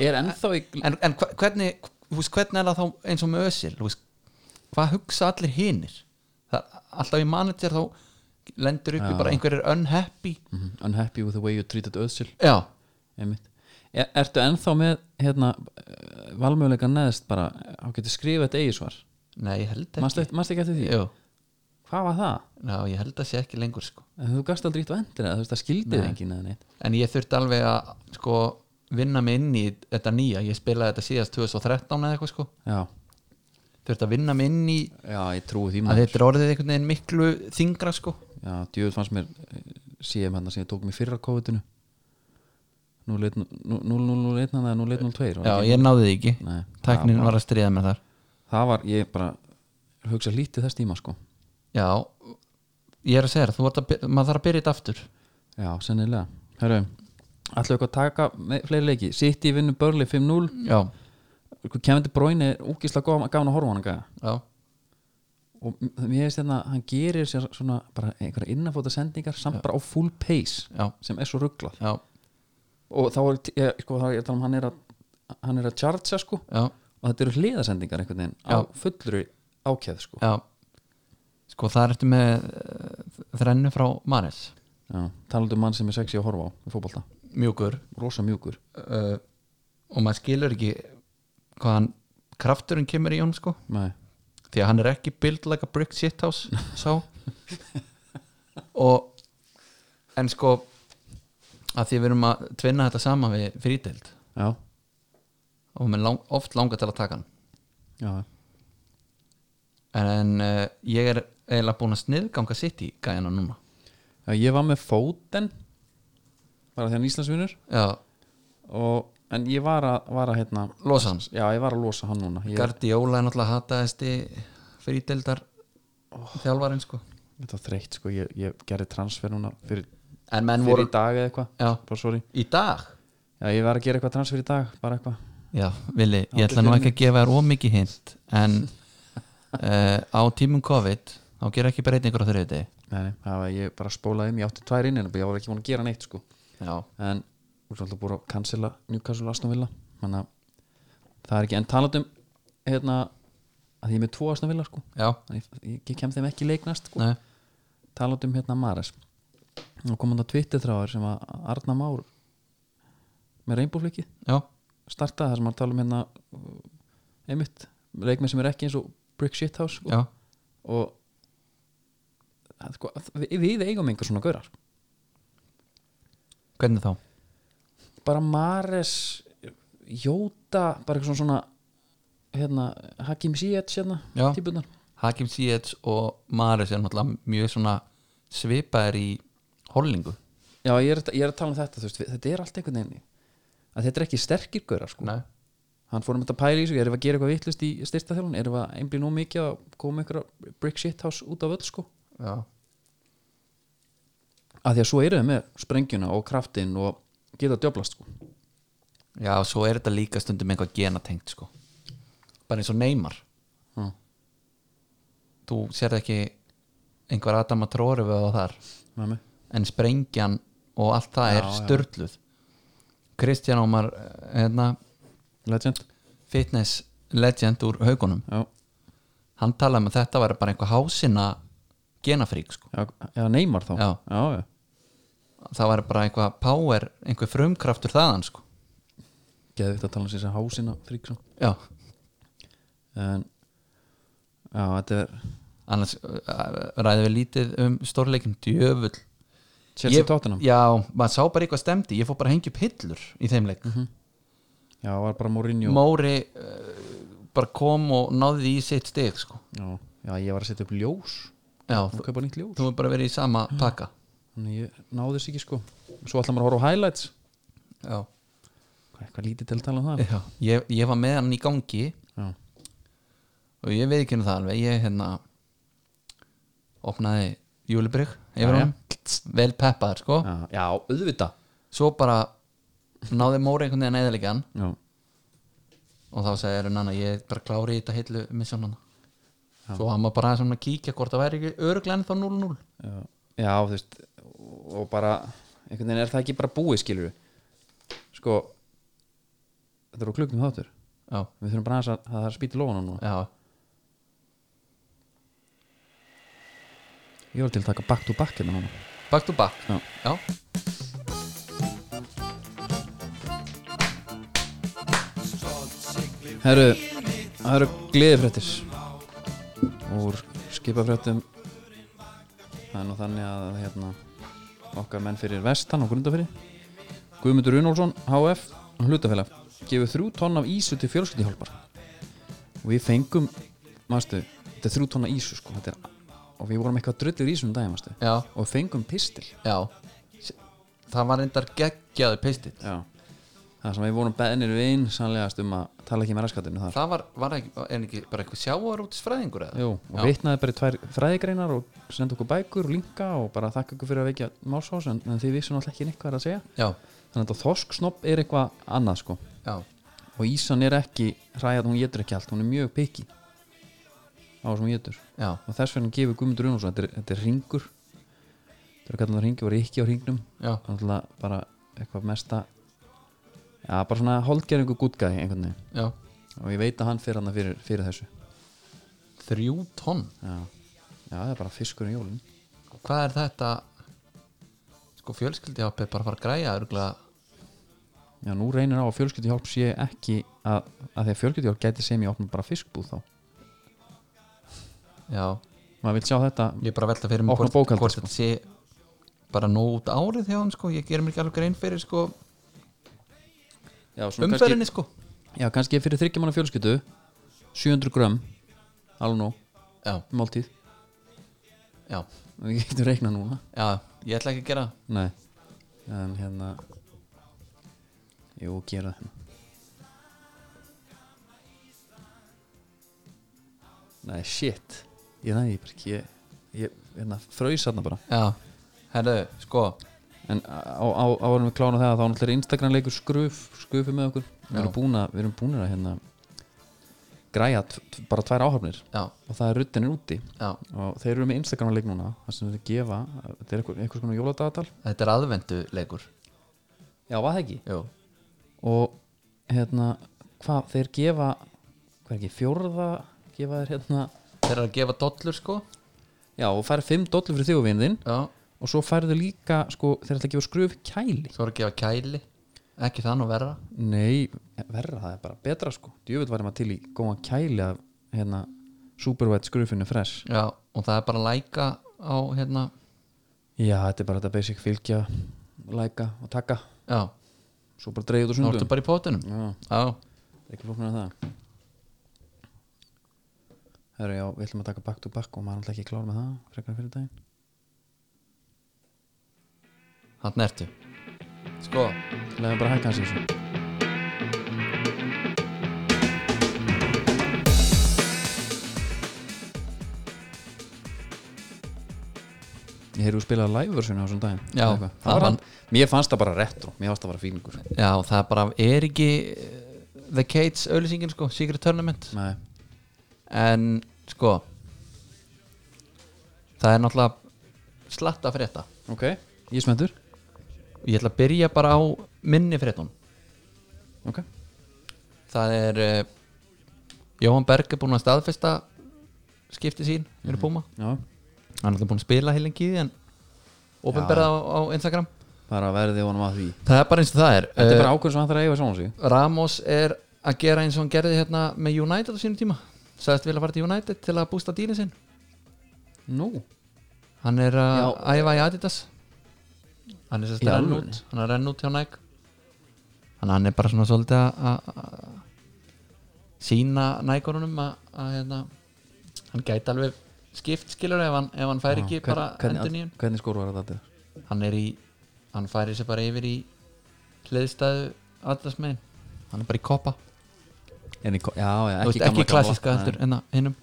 Er ennþá í en, en hva- hvernig þú veist, hvernig er það þá eins og með Özil þú veist, hvað hugsa allir hinir það, alltaf í manager þá lendur upp í bara einhverjir unhappy Mhm, Unhappy with the way you treated Özil já, einmitt er, Ertu ennþá með hérna, valmöguleika neðst bara á getur skrifað þetta eigisvar nei ég held ekki Manstu eftir- manstu ekki eftir því? Jú, Hvað var það? já, ég held að sé ekki lengur sko. En Þú gast aldrei ítt á endir eða þú veist það skildið enginn eða neitt en ég þurfti alveg að sko, vinna mig inn í þetta nýja ég spilaði þetta síðast 2013 eða eitthvað sko. Já, þurfti að vinna mig inn í já ég trúi því að maður þetta er orðið einhvern veginn miklu þingra sko. Já, djöfull fannst mér eh, síðan hann hérna sem ég tók mér fyrra COVID-inu 0-0-1 eða 0-1-0-2 já, ég náði því ekki Nei. tæknin var að stríða með þar Það var, ég bara hugsa lítið þess tíma sko Já, ég er að segja þér, þú ert að, by- maður þarf að byrja þetta aftur Já, sennilega Herru, ætlum við eitthvað að taka me- fleiri leiki City vinnur Börli 5-0 Já, Kevindi Bróini er úkislega gafan að horfa á hann gæja. já, og m- mér finnst hérna, hann gerir sér svona bara einhverja innanfóta sendingar samt bara á full pace já, sem er svo rugglað já, og þá er, t- ég, sko, þá er ég að tala um hann er að hann er að chargea sko já, og þetta eru hliðasendingar einhvern veginn á Já. fullri ákjæð sko já Sko, það ertu með eh, þrennu frá Maris Já, talandi um mann sem er sexy að horfa á í fótbolta, Mjúkur rosa mjúkur uh, Og maður skilur ekki hvaðan krafturinn kemur í honum sko Nei. Því að hann er ekki build like a brick shithouse Sá Og En sko að því við erum að tvinna þetta saman við fríteld Já, og með lang, oft langar til að taka hann já, en uh, ég er eiginlega búin að sniðganga sitt í gæjana núna já ég var með fóten bara því hann er Íslandsvinur já, og, en ég var að, var að hérna, losa hans já ég var að losa hann núna ég, Gardiola er náttúrulega hataðasti frídeldar þjálfarinn sko þetta var þreytt sko, ég, ég gerði transfer núna fyrir, en menn fyrir voru í dag eða eitthvað já, bara sorry, í dag já ég var að gera eitthvað transfer í dag bara eitthvað, já, Vili, ég ætla nú ekki að gefa þér ómikið hint [laughs] en uh, á tímum COVID þá gera ekki breytingur á þriði degi nei, nei, það var ég bara spólaði um, ég átti tvær inn en ég var ekki búin að gera neitt sko já, en þú ert alltaf búin að cancela Newcastle og Aston Villa þannig að það er ekki, en talandi um hérna, að ég er með tvo Aston Villa sko já, þannig ég, ég kem þeim ekki í leik næst sko. nei talandi um hérna Mares og kom hann á Twitter þráður sem að Arna Már með reynbúflikið já, startaði þar sem hann tala um hérna uh, einmitt, leikmenn sem er ekki eins og Brick Shithouse sko. já, og að, sko, að við, við eigum einhver svona gaurar hvernig þá bara Mares Jóta, bara eitthvað svona, svona hérna, Hakim Ziyech hérna, Já. típunar Hakim Ziyech og Maris er náttúrulega mjög svona svipaðir í hollingu Já, ég er, ég er að tala um þetta, þú veist, við- þetta er allt einhvern veginn að þetta er ekki sterkir gaurar sko. Nei. hann fór um þetta að pæla í þessu, erum við að gera eitthvað vittlust í styrsta þjálun, erum við að einblíð nú mikið að koma ykkur brick shit house út af öll sko já, að því að svo eru þau með sprengjuna og kraftin og geta að djöblast sko já, svo er þetta líka stundum eitthvað genatengt sko bara eins og neymar Já. þú sérð ekki einhver Adam að tróri við á þar Með mig. en sprengjan og allt það er störtluð Kristján Ómar eh, hérna, legend fitness legend úr haugunum já, hann talaði um að þetta væri bara einhver hásina genafrík sko já, já neymar þá Já. já, já. það væri bara einhver power, einhver frumkraftur þaðan sko geðu þetta að tala um þessi hásina frík svo já, en já, þetta er annars eh, ræðum við lítið um stórleikin djöfull Chelsea Tottenham já, já, maður sá bara eitthvað stemdi ég fór bara að hengja upp hillur í þeim leik Mhm, var bara Mourinho Móri uh, bara kom og náði í sitt stig sko. já, já, ég var að setja upp ljós já, og þú, kaupa nýtt ljós þú hefur bara verið í sama pakka þannig ég náði þess ekki sko svo ætla maður að horfa á highlights já, hvað, hvað lítið til að tala um það já. Ég, ég var með hann í gangi já, og ég veit ekki um það alveg ég hérna opnaði júlibrygg yfir Jæja. hann vel peppaður sko já, já auðvita svo bara náði Móri einhvern veginn eðalikjan já, og þá segir hann annað ég er bara klári í þetta hillu misjón hann svo hann var bara aðeins svona að kíkja hvort það væri ekki öruglega ennþá 0-0 já, já þú veist og bara, einhvern veginn er það ekki bara búið skilur sko þetta er á klukkum þáttur já, við þurfum bara aðeins að það er spýti lóðan núna já, ég var til að taka back to back hérna núna back to back Já. já. Herru, það eru gleðifrættir úr skipafrættum það er nú þannig að hérna, okkar menn fyrir vestan og grundafyrir Guðmundur Runálsson, HF hlutafélag, gefur þrjú tonn af ísu til fjölskyldihjálpar og við fengum, maðurstu þetta er þrjú tonn af ísu sko þetta er, og við vorum eitthvað drullir ísu um daginn maðurstu já, og við fengum pistil já S- það var reyndar geggjaði pistil Já. það sem við vorum beðnir við einn sannlegast um að tala ekki með raskatunum þar það var, var ekki, en ekki bara eitthvað sjávarútisfræðingur eða? Jú, og vitnaði bara í tvær fræðigreinar og sendi okkur bækur og linka og bara þakka okkur fyrir að vekja málsás en, en þið vissum alltaf ekki neitt hvað er að segja já, þannig að þetta þorsksnopp er eitthvað annað sko já, og ísan er ekki hræðat, hún getur ekki allt, hún er mjög piki á þessum hún getur já, og þess vegna gefur Guðmundur Unnússon þetta, er- þetta er ringur þetta er kallan það ringi og rikki á ringnum já, þannig að bara eitthvað mesta já, bara svona holdgeringu gútgæði einhvern veginn já og ég veit að hann fyrir hann fyrir, fyrir þessu þrjú tonn já. já, það er bara fiskur í jólinn hvað er þetta sko fjölskyldihápið bara að fara að græja örgulega Já, nú reynir á að fjölskyldihjálp sé ekki að, að því að fjölskyldihjálp gæti sem ég opna bara fiskbúð þá já, maður vil sjá þetta ég er bara að velta fyrir mig Opna hvort, bókhaldið, hvort sko. þetta sé bara nóg út árið hjá hann sko ég gerir mér ekki alveg grein fyrir sko já, svona umferðinni sko kannski, já, kannski fyrir þryggjumanna fjölskyldu 700 grömm alveg nóg, já, máltíð já, við getum reiknað núna já, ég ætla ekki að gera það. nei, en hérna jú, gera það nei, shit ég næði bara ekki ég, ég hérna, fraus þarna bara já, herðu, sko en á, á, árum við klána það þá náttúrulega er Instagram leikur skruf skrufi með okkur við erum, búna, við erum búnir að hérna græja t- t- bara tvær áhafnir já, og það er ruttinir úti já, og þeir eru með Instagram leik núna það sem þeir gefa, þetta er eitthvað, eitthvað svona jóladagatal þetta er aðvendu leikur já, var það ekki jú, og hérna, hvað, þeir gefa hvað er ekki, fjórða gefa þeir hérna, þeir eru að gefa dollur sko já, og færi fimm dollur fyrir þig og vinn þinn já, og svo færðu líka, sko, þeir ætla að gefa skruf kæli svo eru að gefa kæli ekki þann og verra Nei, verra, það er bara betra sko Djöfull var ég maður til í góðan kæli af hérna, Superwet skrufinu fresh já, og það er bara að læka á hérna, Já, þetta er bara þetta basic fylgja læka og taka, já, svo bara dreigðu út og þá ertu sundum bara í pótunum Já, já, ekki flóknir að það Herra, já, við ætlum að taka back to back og maður er alltaf ekki klár með það frekar en fyrir daginn þarna ertu sko, Leðum bara hækka hans í þessu ég heyrðu spilað live versionu á þessum daginn Já, Eða eitthvað. það það var var- hann Mér fannst það bara retro, mér fannst það bara fíningur Já, það er bara, er ekki eh, The Cage auðlýsingin sko, Secret Tournament Nei, En sko Það er náttúrulega slatta frétta ok, ég er smendur Ég ætla að byrja bara á minni fréttun Ok, Það er uh, Jóhann Berg er búinn að staðfesta skipti sín fyrir Puma já, Hann er alltaf búinn að spila heilengi í því en Opinberða á, á Instagram bara verðið honum að því Það er bara eins og það er, Þetta er Eh, bara ákveðin sem hann þarf að eiga sjálfum sig Ramos er að gera eins og hann gerði hérna með United á sínum tíma sagðist vilja fara til United til að bústa dýrin sinn Nú, hann er að Já. æfa í Adidas hann er sérst Í að renn alvörunni? út hann er að renn út hjá Nike hann, hann er bara svona svolítið að- að að sína Nike-orunum að að, hérna, hann gæti alveg skipt skilur ef hann, ef hann fær ekki bara endur hvernig, nýjum Ah, hvernig skóru var þetta? hann er í hann færi sér bara yfir í hliðstæðu Adidas megin hann er bara í koppa En í, ko- já, já, ekki, veist, gamla- ekki gamla- klassiska Nei. heldur hérna, en að hinnum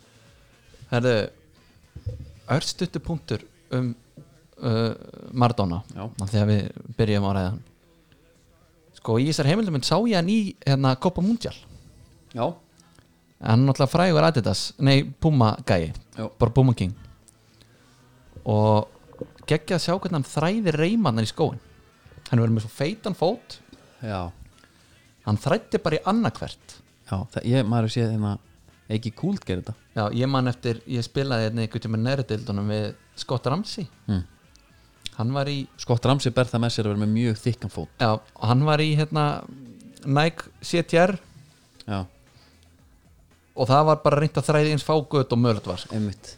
Herðu Örstuttu punktur um uh, Maradona Já. af því að við byrjum á ræðan Sko í þessar heimildum sá ég hann í hérna Copa Mundial Já, hann er náttúrulega frægur Adidas nei Puma gæi Já. bara Puma King og geggja að sjá hvernig hann þræðir reymannar í skóin hann verður með svo feitan fót já, hann þrætti bara í annarkvert já það, ég, maður hérna, sé þeim að ekki kúlt gerir þetta Já, ég man eftir, ég spilaði hérna einhvern tímann næri dildunum við Scott Ramsey Mm. Hann var í, Skott Ramsey ber það með sér að vera með mjög þykkan fót já, hann var í hérna Nike CTR Já, og það var bara reynt að þræði eins fágöt og mölut var sko. einmitt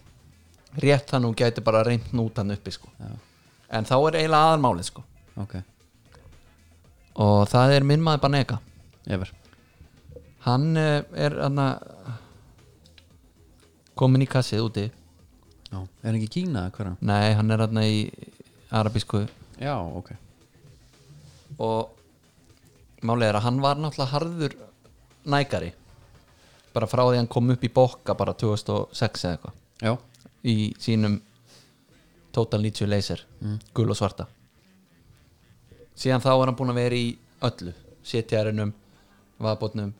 Rétt hann og gæti bara reynt nút hann uppi sko. Já. En þá er eiginlega aðalmálið sko. Ok, Og það er minn maður Banega yfir Hann eh, er hann komin í kassið úti Já, er hann ekki í Kína eða hverja? Nei, hann er hann í arabísku Já, ok og málið er að hann var náttúrulega harður nækari bara frá því að hann kom upp í bokka bara 2006 eða eitthvað Já, í sínum Total 90 laser, gul og svarta síðan þá er hann búin að vera í öllu CTR-inum, vaðbótnum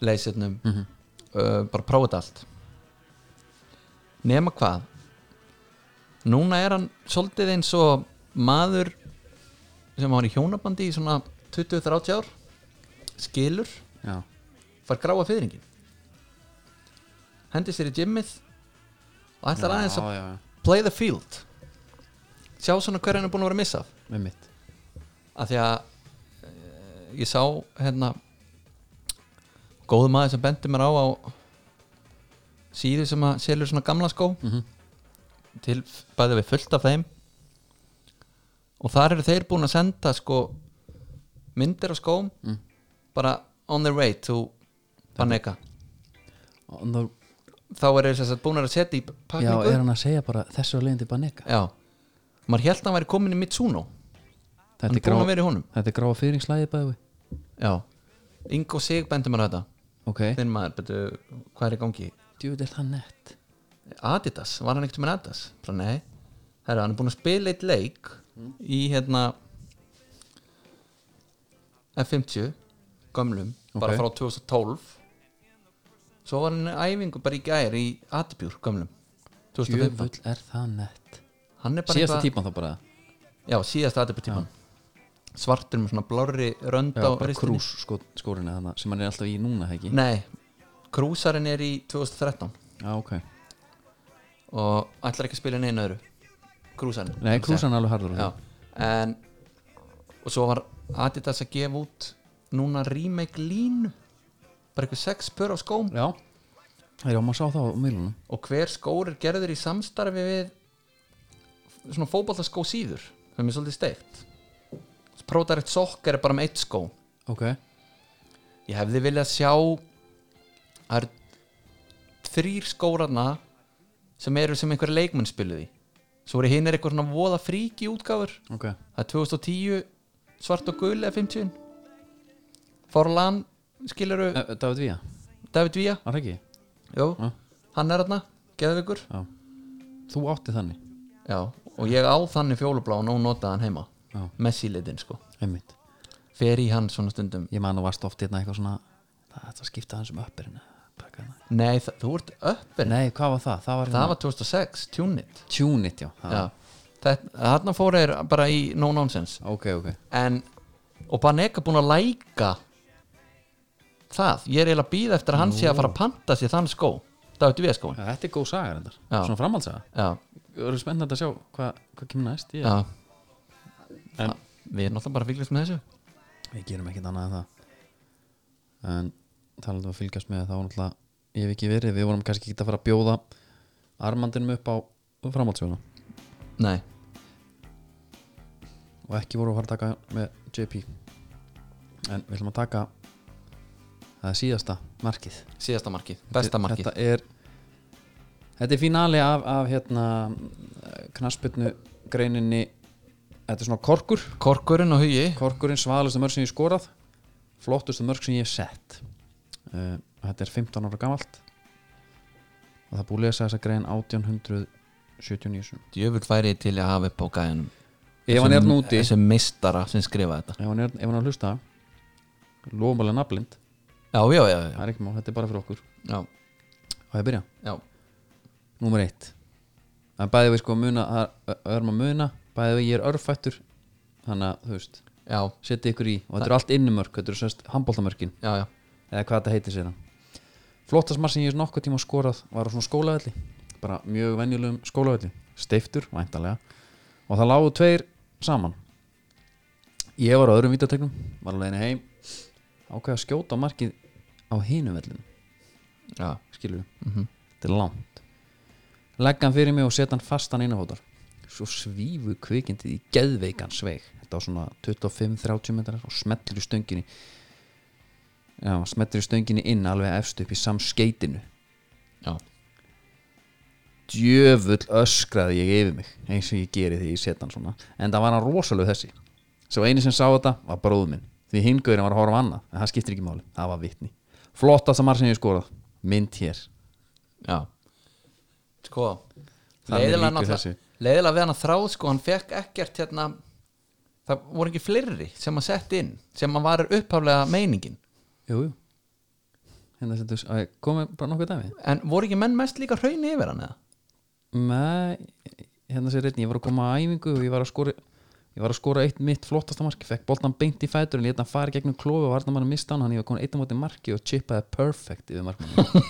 lasernum uh, bara prófa þetta allt nema hvað núna er hann svolítið eins og maður sem var í hjónabandi í svona 20-30 ár skilur, já, fær gráa fyrringin hendi sér í gymmið og ætlar aðeins já, að já, play the field sjá svona hver hann er búin að vera að missa af einmitt af því að e, ég sá hérna góðu maður sem bendi mér á á síðu sem að selur svona gamla skó Mhm. til bæði við fullt af þeim og þar eru þeir búin að senda sko myndir af skóm Mm. bara on their way to Banega Ná, þá eru þess að búin að setja í Já, pakningu er hann að segja bara þessu að leiðin til Banega Já. maður held að hann væri komin í Mitsuno Þetta er Hann er búinn grá- að vera í honum. Þetta er gráa fyringslæði bæði Já, Ingo Sig bendur mér á þetta Ok, þinn maður, betur, hvað er í gangi djúvill er það nett Adidas, var hann ekkert með Adidas bara nei, herra, hann er búinn að spila eitt leik Mm. í hérna F50 gömlum, bara Ok. frá 2012 svo var hann í æfingu bara í gær í Adibjúr gömlum 2015, Djúvill er það nett hann er bara Síðasta típan þá bara já, síðasta Adibjúr tíman svartur með svona blárri rönd Já, á bara ristinni. krús sko, skórinu þannig sem hann er alltaf í núna, ekki? nei, krúsarinn er í 2013 Já, ok og ætlar ekki að spila neina öðru krúsan Nei, krúsan er alveg harður á því. já, en og svo var Adidas að gefa út núna remake línu bara eitthvað sex pör á skóm Já, já, maður sá það á miðlunum og hver skór er gerður í samstarfi við svona fótballtaskó síður sem er svolítið steikt Prodirect Soccer er bara með eitt skó Ok, ég hefði viljað sjá það eru þrýr skórarna sem eru sem einhver leikmenn spiluði svo eru hinn er eitthvað svona voða fríki útgáfur ok það er 2010 svart og gul eða 50 Forlan skiluru Eh, David Vía, David Vía var það ekki? Jó, Já. hann er hérna, geðvikur Já Þú átti þannig Já, já, og ég á þannig fjólubláan og notaði hann heima Já. Messi litinn sko, einmitt fer í hann svona stundum ég man að varst oft hérna eitthvað svona það er að skipta hans um öppirinn Taka hana. nei, þa- þú ert öppin hérna." nei, hvað var það? það var, hérna það var 2006, Tune It tune it, já, já. já. þarna fóra er bara í no nonsense ok, ok en, og Banega búin að læka það, ég er eiginlega að býða eftir að hann sé að fara að panta sér þann skó það veitum við skóin Já, þetta er góð saga reyndar, Já. svona framhaldsaga já, Það eru spennandi að sjá hvað hva kemur næst ég, já En- við erum náttúrulega bara að fylgjast með þessu Við gerum ekkert annað en það En talandi um að fylgjast með þá náttúrulega Ég hef ekki verið, við vorum kannski ekki að fara að bjóða Armandinum upp á framhaldsjóna nei, Og ekki voru að fara að taka með JP En við ætlum að taka Það er síðasta markið síðasta markið, besta markið Þetta er Þetta er fínali af, af hérna knaspirnu greininni Þetta er svona korkur Korkurinn og hugi Korkurinn svalastu mörg sem ég skorað flottustu mörg sem ég hef sett uh, þetta er 15 ára gamalt og það er búið að lesa þessa grein 1879 sinnum. Djöfull væri ég til að hafa upp á gæðinum ef hann er Þessum- núti ef Þessum meistara sem skrifa þetta hann er, ef hann er að hlusta lofum alveg nafnblind Já, já, já, já, það er ekki mál, þetta er bara fyrir okkur já, og ég að byrja, já. númer eitt það er bæði við sko að muna það er örma muna, bæði við ég er örfættur þannig að þú veist, já, setja ykkur í og þetta eru allt innumörk, þetta eru sérst handbóltamörkin já, já. eða hvað þetta heitir sér hann flottast marg sem ég hef nokkuð tíma skorað var á svona skólavelli bara mjög venjulegum skólavelli steiftur, væntalega og það lágu tveir saman ég var á öðrum vítategnum var á leiðinni heim ákveða að skjóta á markið á hinum vellinu já. skilur við, þetta er langt leggja hann fyrir mig og setja hann fastan innafótar svo svífu kvikindið í geðveikan sveig þetta var svona 25-30 metrar og smettur í stönginni já, smettur í stönginni inn alveg efst upp í samskeitinu já. djöfull öskraði ég yfir mig eins og ég geri því ég setja hann svona en það var hann rosalega þessi svo eini sem sá þetta var bróð minn því hingurinn var að horfa á annað en það skiptir ekki máli, það var vitni flottast að marg sem ég hef skorað mynd hér já. Sko Þannig Leiðilega lýkur þessu. náttúrulega Leiðilega við hann að þráð sko Hann fekk ekkert hérna Það voru ekki fleiri sem að sett inn Sem að var upphaflega meiningin Jú, jú Hérna setur, æ, komið bara nokkuð dæmi En voru ekki menn mest líka hrauni yfir hann eða? Nei, hérna sér reyndin, ég var að koma að æfingu og ég var að skora ég var að skora eitt mitt flottasta marki, fekk boltan beint í fætur en lét hann fara í gegnum klófi og varna mann að mista hann hann ég var komin eitt á móti marki og chipaði perfect yfir markmann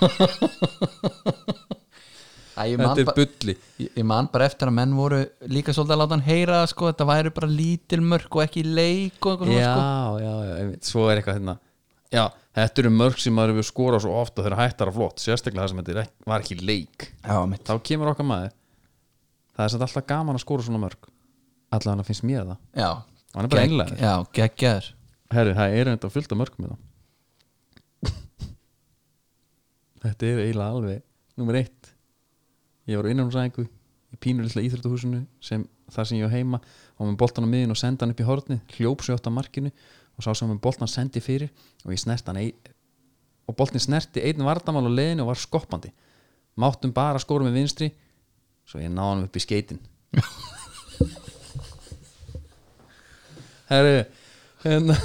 Æ, ég man bara- bulli Ég ég man bara eftir að menn voru líka svolítið að láta hann heyra sko, þetta væri bara lítil mörk og ekki leik og eitthvað svona sko. Já, já, já, einmitt, svo er eitthvað hérna Já, þetta eru mörg sem maður hefur skorað svo ofta þegar hættar að flott, sérstaklega það sem þetta er ekki- var ekki leik Já, mitt Þá kemur okkar maður Það er samt alltaf gaman að skora svona mörg Allavega finnst mér það Já, Hann er bara einlægur. Já, geggjaður Herri, það er enda fullt af mörgum hérna. í það Þetta er eiginlega alveg Númer eitt Ég var á innanúsæðingu í pínulitla íþróttahúsinu sem þar sem ég var heima og með boltan á miðin og senda hann upp í horni hljóp svo átt að markinu og sá sem með boltan sendi fyrir og ég snerti hann ein, og boltin snerti einn vardamál á leiðinu og var skoppandi máttum bara skóra með vinstri svo ég náði hann upp í skeitin Herri hérna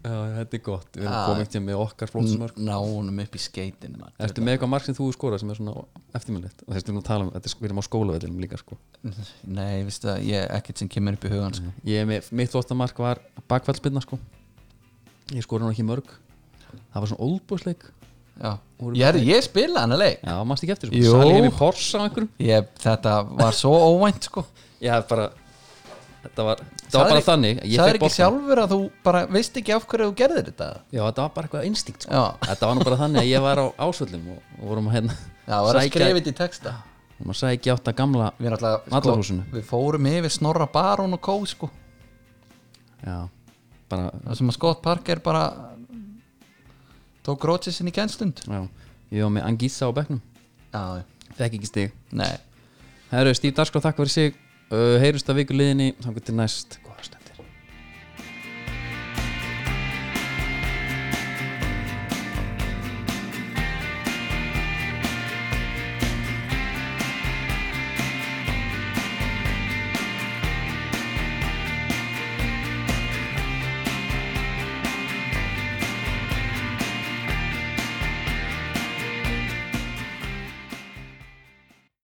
Já, þetta er gott, við erum Já. komið ekki með okkar flótsmörk Ná honum upp í skeitin man. Ertu með eitthvað mark sem þú hefur skorað sem er svona eftirmjöldlegt og þessi nú að tala um, þetta er sko, við erum á skólavellinum líka sko. Nei, veistu það, ég er ekkert sem kemur upp í hugan sko. ég, er með, mitt flotta mark var bakfællspinna sko. ég skoraði nú ekki mörg það var svona oldbúsleik Já, Voru ég, er, ég spilaði hann að leik já, mannst ekki eftir Jú. sko. salið heim í Porsa á einhverjum ég, Þetta var svo óvænt [laughs] sko ég hef bara þetta var, þetta var bara þannig ég Það fékk er ekki boltann. sjálfur að þú bara veist ekki af hverju þú gerðir þetta já, þetta var bara eitthvað instinkt sko. Já, þetta var nú bara þannig að ég var á ásvöllum og, og vorum að hérna já það var að sækja- skrifa þetta í texta vorum að sækja átta gamla Við, náttúrulega, Vallarhúsinu. við fórum yfir Snorra Barón og Kó sko. já, bara það sem að Scott Parker bara tók grótið sinni í kennstund já, ég var með Angissa á bekknum Já, fekk ekki stig nei Herru, Steve Darskóð, takk fyrir sig uh, Heyrust að viku liðinni, þangur til næst Góða stund